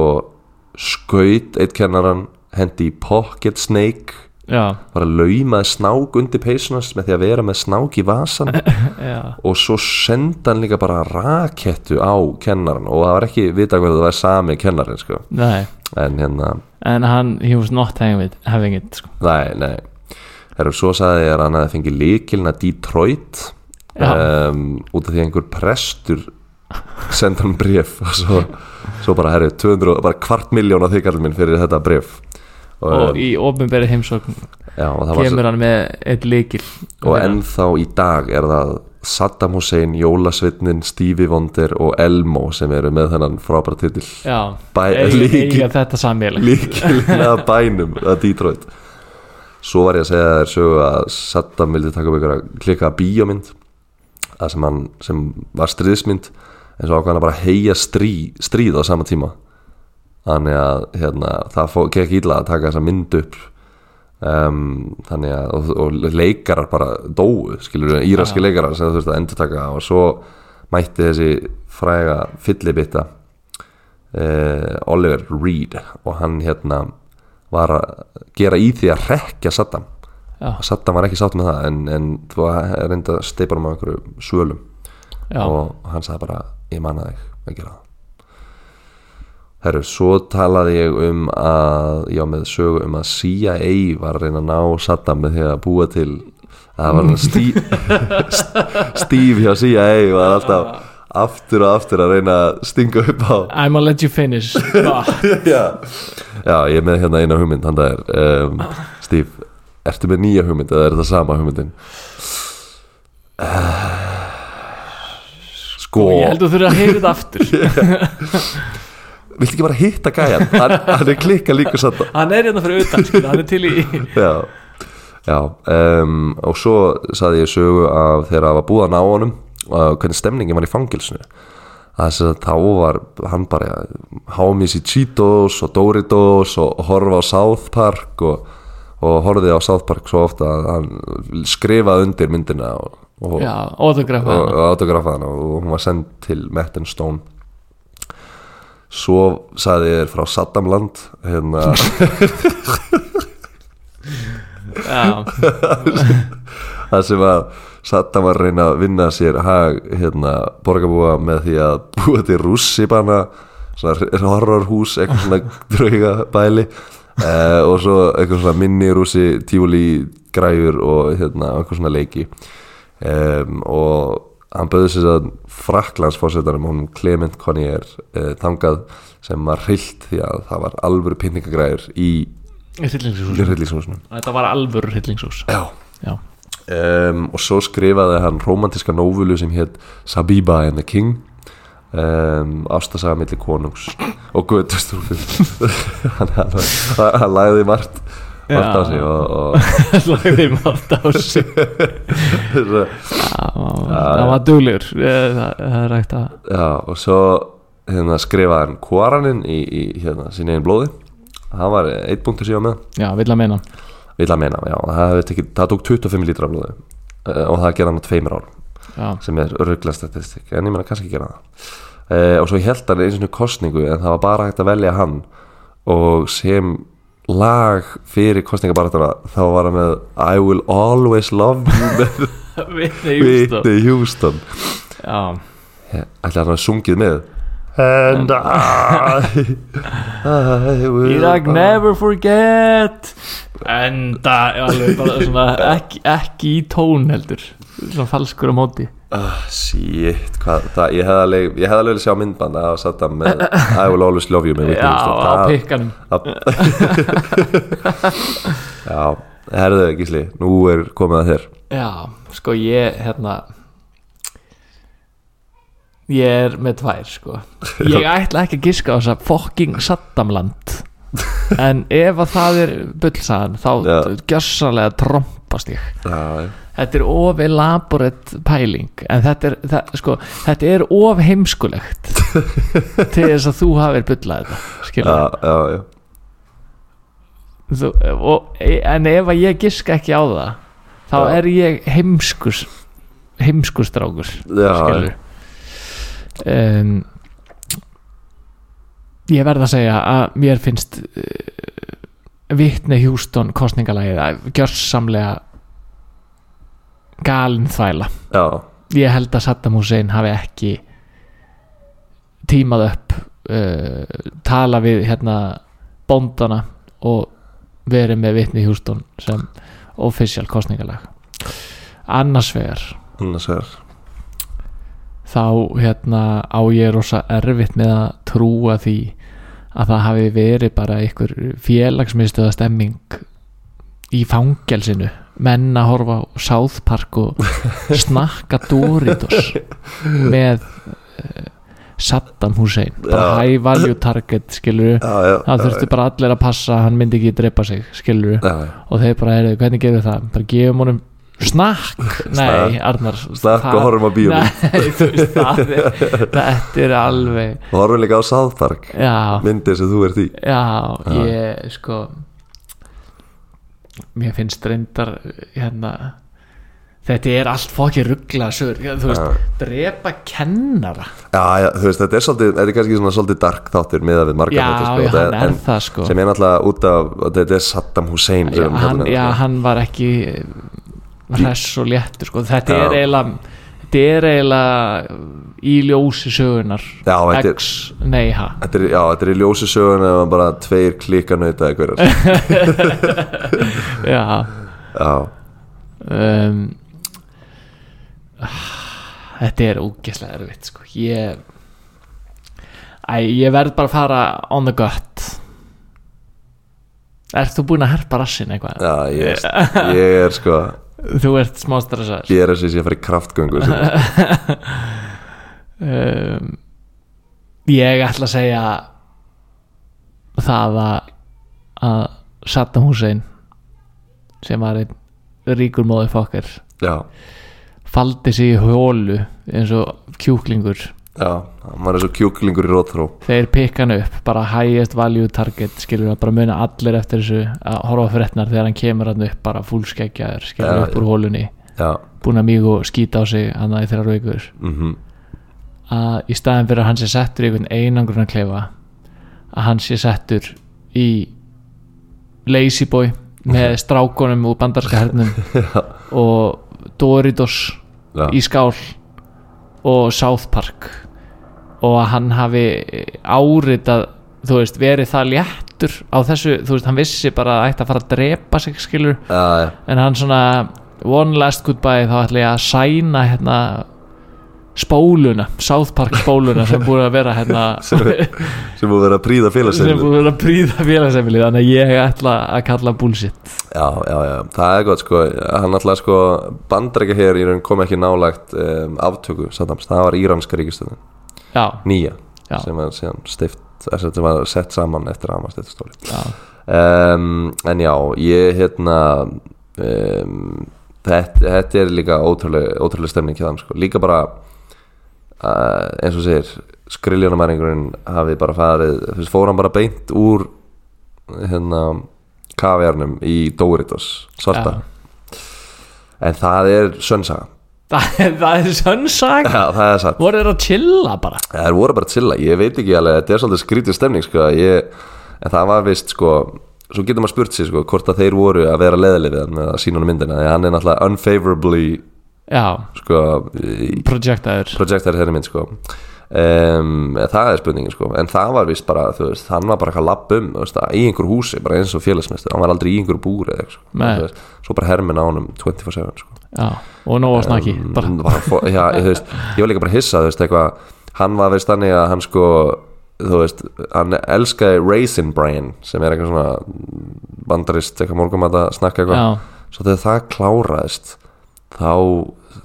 Speaker 1: skaut eitt kennaran hendi í pocket snake
Speaker 2: já,
Speaker 1: var að laumaði snák undir peysunast með því að vera með snák í vasan
Speaker 2: já.
Speaker 1: og svo sendi hann líka bara rakettu á kennaran og það var ekki vita hvernig það var sami kennarin sko.
Speaker 2: Nei,
Speaker 1: en hérna,
Speaker 2: en hann he was not having it, having it sko.
Speaker 1: nei, nei Heru, svo sagði ég að hann að fengið líkilna Detroit
Speaker 2: Já.
Speaker 1: um, út af því að einhver prestur sendi hann bref og svo, svo bara, herru, 200, bara kvart miljón á þykallum minn fyrir þetta bref og,
Speaker 2: og í ofinberi heimsókn
Speaker 1: já, og, það var svo-
Speaker 2: kemur hann með eitt líkil
Speaker 1: og ennþá í dag er það Saddam Hussein, Jólasveitnin, Stevie Wonder og Elmo sem eru með þennan frábæra titill
Speaker 2: Já,
Speaker 1: Bæ-
Speaker 2: eiga-
Speaker 1: líki-
Speaker 2: eiga þetta samíl
Speaker 1: líkilinn að bænum að Detroit svo var ég að segja þér sögu að Saddam vildi taka upp ykkur að klika bíómynd að sem, hann, sem var stríðismynd en svo ákvað hann að bara heia strí, stríð á sama tíma þannig að hérna, það fó, gekk illa að taka þessa mynd upp um, þannig að og, og leikarar bara dóu skilur við, íraski leikarar sem þú þurfti að endurtaka og svo mætti þessi fræga fyllibitta uh, Oliver Reed og hann hérna var að gera í því að rekja Saddam
Speaker 2: Já.
Speaker 1: Saddam var ekki sátt með það en, en þú reynda að steipa um einhverju svölum
Speaker 2: Já,
Speaker 1: og hann sagði bara ég manna þig að gera það Herru, svo talaði ég um að já, með sögu um að CIA var að reyna að ná Saddam með því að búa til að það var hann stíf stíf hjá CIA var alltaf aftur og aftur að reyna að stinga upp á
Speaker 2: I'm gonna let you finish Bah.
Speaker 1: já. já, ég er með hérna eina hugmynd handa þér um, Steve, ertu með nýja hugmynd eða er þetta sama hugmyndin? Sko
Speaker 2: Og Sko, ég held að þú þurfir að heyra þetta aftur
Speaker 1: Viltu ekki bara hitta gæjan? Hann, hann er klikka líka satt
Speaker 2: Hann er hérna fyrir utan, skil, hann er til í
Speaker 1: Já, já um, og svo saði ég sögu af þegar það var búið að ná honum og hvernig stemningin var í fangilsinu þess að þá var hann bara hámis í Cheetos og Doritos og horfa á South Park og, og horfið á South Park svo ofta að hann skrifaði undir myndina og, og,
Speaker 2: Já, autografa
Speaker 1: og,
Speaker 2: hana.
Speaker 1: og autografaði hana og hún var send til Matt and Stone svo saði ég þér frá Saddamland hérna
Speaker 2: Já,
Speaker 1: það sem að Saddam var að reyna að vinna sér hag hérna, borgarbúa með því að búa til rússibana svona horrorhús, eitthvað svona draugabæli eh, og svo eitthvað svona minni rússi, tífúli græfur og hérna, eitthvað svona leiki um, og hann bauði sér að fraklandsfósettanum hún Clement Connier uh, þangað sem var hreilt því að það var alvöru pinningagræður í
Speaker 2: Hryllingshús
Speaker 1: hrillingshúsinu
Speaker 2: Þetta var alvöru hryllingshús
Speaker 1: Já
Speaker 2: Já,
Speaker 1: um, og svo skrifaði hann romantiska nóvulu sem hétt Sabiba and the King um, ástasaga milli konungs og guðtustrúfum hann, hann, hann, hann lagði margt margt
Speaker 2: Já.
Speaker 1: á sig og, og
Speaker 2: lagði mátt á sig Það var duglegur Eh, Það það er rægt að
Speaker 1: já, og svo hérna, skrifaði hann Koraninn í, í hérna, sín eigin blóði hann var eitt punktur síðan með
Speaker 2: Já, vill að meina
Speaker 1: vil að meina, já, það, hefði tekið, það tók 25 lítra af blóði eh, og það gerði hann á tveimur árum
Speaker 2: Já,
Speaker 1: sem er öruglega statistik en ég meina kannski gera það e, og svo held hann eins og kostningu en það var bara hægt að velja hann og sem lag fyrir kostningabaratana þá var hann með I will always love you með
Speaker 2: Whitney Houston
Speaker 1: Whitney Houston
Speaker 2: Já,
Speaker 1: ætla hann að hafa sungið með Eh. and I I will
Speaker 2: Iraq never forget Enda, já, alveg bara svona ekki, ekki í tón heldur Svona falskur á móti
Speaker 1: Ah, shit, hvað, það, ég hefði alveg ég hefði alveg viljað sjá myndbanda af Saddam með I will always love you með Whitney
Speaker 2: Já,
Speaker 1: Houston
Speaker 2: á
Speaker 1: Það-
Speaker 2: pikkanum
Speaker 1: Já, herðu Gísli, nú er komið að þér
Speaker 2: Já, sko ég hérna Ég er með tvær sko Ég ætla ekki að giska á þess að fucking Saddamland En ef að það er bullsagan þá
Speaker 1: Já.
Speaker 2: gjössanlega trompast ég
Speaker 1: Já,
Speaker 2: Þetta er of elaborate pæling en þetta er, það, sko, þetta er of heimskulegt til þess að þú hafir bullað þetta
Speaker 1: já,
Speaker 2: skilur
Speaker 1: já, já.
Speaker 2: þú, og, en ef að ég giska ekki á það þá
Speaker 1: Já.
Speaker 2: er ég heimskus heimskustrákur
Speaker 1: Já,
Speaker 2: skilur um, ég verð að segja að mér finnst uh, Vittne Hjústón kostningalagið að gjörsamlega galin þvæla
Speaker 1: já,
Speaker 2: ég held að Saddam Hussein hafi ekki tímað upp uh, tala við hérna bóndana og verið með vitni Hjústón sem official kostningalag annars vegar
Speaker 1: annars er
Speaker 2: þá hérna á ég rosa erfitt með að trúa því að það hafi verið bara einhver félagsmiðstöða stemming í fangelsinu menn að horfa á South Park og snakka Doritos með uh, Saddam Hussein bara
Speaker 1: Já.
Speaker 2: high value target skilur
Speaker 1: Já, já,
Speaker 2: það
Speaker 1: já,
Speaker 2: þurfti bara allir að passa hann myndi ekki drepa sig skilur
Speaker 1: já, já.
Speaker 2: og þeir bara, heyrðu, hvernig gerum við það bara gefum honum snakk nei, Arnar
Speaker 1: Snakk
Speaker 2: það-
Speaker 1: og horfum á bíómynd
Speaker 2: Nei, þú veist það er, Þetta er alveg
Speaker 1: og horfum líka á South Park
Speaker 2: Já,
Speaker 1: myndið sem þú ert í
Speaker 2: já, ég sko Mér finnst reyndar hérna Þetta er allt fokkið ruggla sögur, þú veist, drepa kennara
Speaker 1: Já, já, þú veist, þetta er svolítið, þetta er kannski svona svolítið dark þáttur miðað við marga
Speaker 2: Já,
Speaker 1: þætti,
Speaker 2: já,
Speaker 1: þetta
Speaker 2: hann
Speaker 1: sko.
Speaker 2: er
Speaker 1: en-
Speaker 2: það, sko.
Speaker 1: sem er náttúrulega út af, þetta er Saddam Hussein sem
Speaker 2: já
Speaker 1: við hérna
Speaker 2: hann,
Speaker 1: kallum
Speaker 2: já,
Speaker 1: hann,
Speaker 2: hann var ekki eh, hress og léttur, sko Þetta
Speaker 1: Já.
Speaker 2: er eiginlega Þetta er eiginlega eh, í ljósi sögunar
Speaker 1: Já, þetta er-
Speaker 2: X, nei, ha
Speaker 1: Þetta er, já, þetta er í ljósi sögun eða bara tveir klíkanauta eða hverjar
Speaker 2: Já,
Speaker 1: Já,
Speaker 2: um, Þetta er ógeðslega erfitt sko. ég, æ, ég verð bara að fara on the gut Ert þú búinn að herpa rassin eitthvað?
Speaker 1: já, ég, er- ég er sko
Speaker 2: Þú ert smá stressaður
Speaker 1: ég er þessi sem ég að fara í kraftgöngu sem
Speaker 2: um, Ég ætla að segja það að, að Saddam Hussein sem var einn ríkur móði fokkar
Speaker 1: Já,
Speaker 2: faldi sig í hólu eins og kjúklingur
Speaker 1: já, maður er svo kjúklingur í róthró
Speaker 2: þeir pikka hann upp, bara highest value target skilur að bara muna allir eftir þessu að horfa á fréttnar þegar hann kemur hann upp bara fullskeggjaður, skilur
Speaker 1: Já,
Speaker 2: upp úr hólunni
Speaker 1: Já,
Speaker 2: búin að mjög og skýta á sig hann að þeirra raukur
Speaker 1: mhm
Speaker 2: að í staðin fyrir að hann sé settur í einhvern einangrun að klefa að hann sé settur í lazy boy með strákonum úr bandarska hernum og Doritos
Speaker 1: já,
Speaker 2: í skál og South Park og að hann hafi áritað þú veist, verið það léttur á þessu, þú veist, hann vissi bara að ætti að fara að drepa sig skilur
Speaker 1: já, já,
Speaker 2: en hann svona, one last goodbye þá ætla ég að sæna hérna spóluna, South Park spóluna sem búið að vera hérna
Speaker 1: sem, sem búið að vera að príða
Speaker 2: sem
Speaker 1: félagsefni
Speaker 2: búið að vera að príða félagsefnilið þannig að ég ætla að kalla bullshit
Speaker 1: já, já, já, það er gott sko hann alltaf sko bandrækja hér í raun kom ekki nálægt um, aftöku Saddams, það var íranska ríkistöðin
Speaker 2: já,
Speaker 1: nýja,
Speaker 2: Já.
Speaker 1: sem var síðan stift sem var sett saman eftir að maður stið
Speaker 2: já,
Speaker 1: um, en já, ég hérna um, þetta, þetta er líka ótrúlega, ótrúlega stemning hjá þeim sko. líka bara uh, eins og segir, skriljónamæringurinn hafi bara farið, fyrst fór hann bara beint úr hérna kaviarnum í Doritos svarta, en það er sönnsaga,
Speaker 2: það, er- það er sönnsag
Speaker 1: Já, það er satt
Speaker 2: voru þeir að chilla bara
Speaker 1: Það voru bara til að, ég veit ekki alveg, þetta er svolítið skrítið stemning sko, ég, en það var vist sko, svo getur maður spurt sér sko, hvort að þeir voru að vera leðileg við hann með að sína hann myndina, því að hann er náttúrulega unfavorably
Speaker 2: já,
Speaker 1: sko,
Speaker 2: projectaður
Speaker 1: projektar þeirri mynd sko um, það er spurningin sko, en það var vist bara, þú veist, hann var bara eitthvað lapp um þú veist, í einhver húsi, bara eins og félagsmestu hann var aldrei í einhver búri eða eitthvað sko.
Speaker 2: Nei.
Speaker 1: Þú veist, svo bara hermin á honum 24-7 sko
Speaker 2: já, og nóg að snakki
Speaker 1: Mm,
Speaker 2: bara,
Speaker 1: bara fó- já, ég, þú veist, ég var líka bara hissa þú veist, eitthvað, hann var veist þannig að hann sko þú veist, hann elskaði Raisin Brain sem er eitthvað svona bandarist, eitthvað morgumata snakka
Speaker 2: já,
Speaker 1: eitthvað, svo þegar það kláraðist þá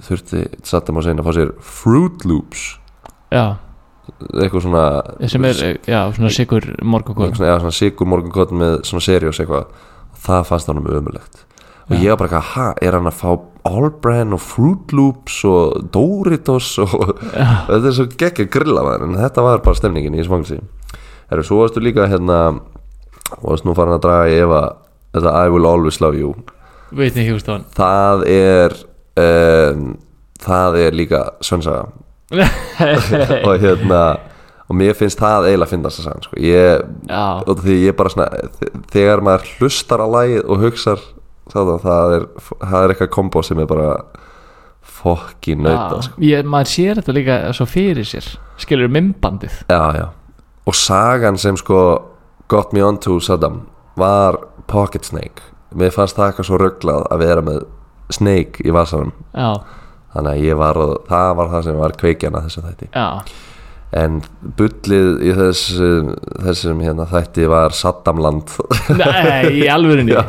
Speaker 1: þurfti Saddam Hussein að fá sér Fruit Loops
Speaker 2: já
Speaker 1: eitthvað svona
Speaker 2: sem er, já, svona sikur morgokon
Speaker 1: eitthvað svona, eða svona sigur morgunkotn með svona seriós eitthvað það fannst honum ömulegt og ég var bara eitthvað, ha, er hann að fá All Brand og Fruit Loops og Doritos og þetta er svo geggja grilla maður en þetta var bara stemningin í smanglsi Herru, svo varstu líka hérna varstu nú farin að draga í efa þetta I Will Always Love You
Speaker 2: veit ekki húst á hann
Speaker 1: það er um, það er líka svönsaga og hérna og mér finnst það eiginlega að finnast að sagna sko. ég
Speaker 2: já,
Speaker 1: og því ég bara svona þe- þegar maður hlustar á lagið og hugsar það, það, er, það er eitthvað kombo sem er bara fokki
Speaker 2: já.
Speaker 1: nauta sko.
Speaker 2: Ég, maður sér þetta líka svo fyrir sér skilur mymbandið
Speaker 1: já, já. og sagan sem sko got me onto Saddam var Pocket Snake mér fannst það eitthvað svo rugglað að vera með Snake í vasanum
Speaker 2: já,
Speaker 1: þannig að ég var, það var það sem var kveikjan að þessu þætti
Speaker 2: já,
Speaker 1: en bullið í þessum, þessum hérna þætti var Saddamland
Speaker 2: nei, í alvörunni
Speaker 1: Já,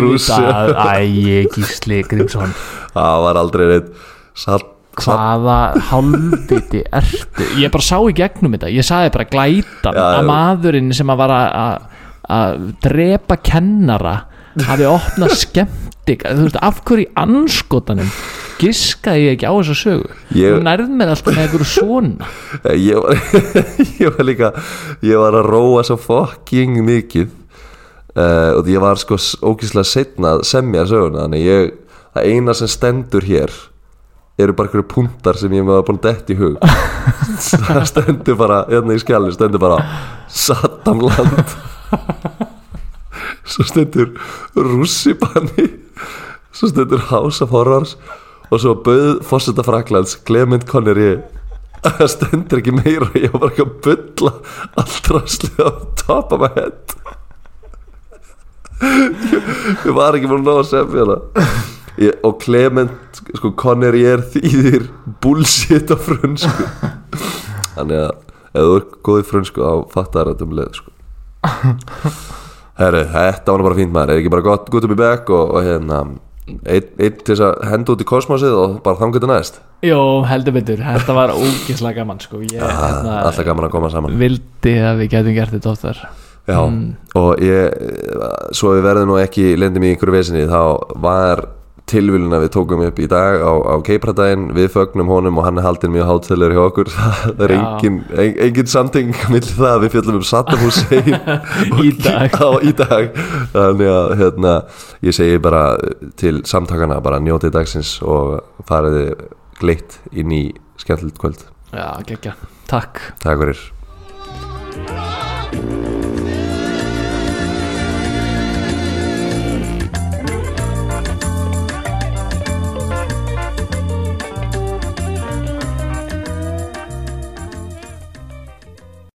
Speaker 1: Rússia.
Speaker 2: auðvitað, æ, gísli Grímsson
Speaker 1: það var aldrei neitt Saddam
Speaker 2: hvaða hálfviti ertu ég bara sá í gegnum þetta ég sagði bara glætan
Speaker 1: Já, já.
Speaker 2: að maðurinn sem að var að- að að drepa kennara hafi opnað skemmtik þú veist, af hverju í anskotanum giskaði ég ekki á þessa sögu
Speaker 1: Ég-
Speaker 2: þú nærð mér alltaf með einhverju svona
Speaker 1: Eh, Ég var, ég var líka ég var að róa svo fucking mikið uh, og ég var sko s- ógeðslega setna að semja söguna þannig ég, það eina sem stendur hér eru bara einhverju puntar sem ég með var búin dett í hug það stendur bara, hérna í skjálni stendur bara Saddamland svo stendur Rússipanni svo stendur House of Horrors og svo bauð fórseta Fraklands Clement Connery það stendur ekki meira ég var bara ekki að bulla allt rastlið á top of my head ég, ég var ekki búin að ná að semja hana ég, og Clement sko Connery er þýðir bullshit á frönsku þannig að ef þú er góð í frönsku þá fattar þetta um leið sko Herru, þetta var nú bara fínt maður, er ekki bara gott, good to be back og, og hérna, einn ein til þess að henda út í kosmosið og bara þangur til næst
Speaker 2: jó, heldur betur, þetta var ógislega gaman sko, ég hérna,
Speaker 1: Ah, Alltaf gaman að koma saman
Speaker 2: vildi að við getum gert þetta oftar
Speaker 1: Já, og ég, eh, svo við verðum nú ekki lendum í einhverju vesinni, þá var tilvílun að við tókum upp í dag á, á keipradaginn, við fögnum honum og hann er haldin mjög hátilegur hjá okkur það er
Speaker 2: Já.
Speaker 1: engin, en, engin samting millir það að við fjöllum um Saddam Hussein og-
Speaker 2: Í dag.
Speaker 1: á, í dag þannig að hérna, ég segi bara til samtakana bara njótið dagsins og fariði gleitt inn í skemmtilegt kvöld
Speaker 2: já, geggja, takk
Speaker 1: Takk fyrir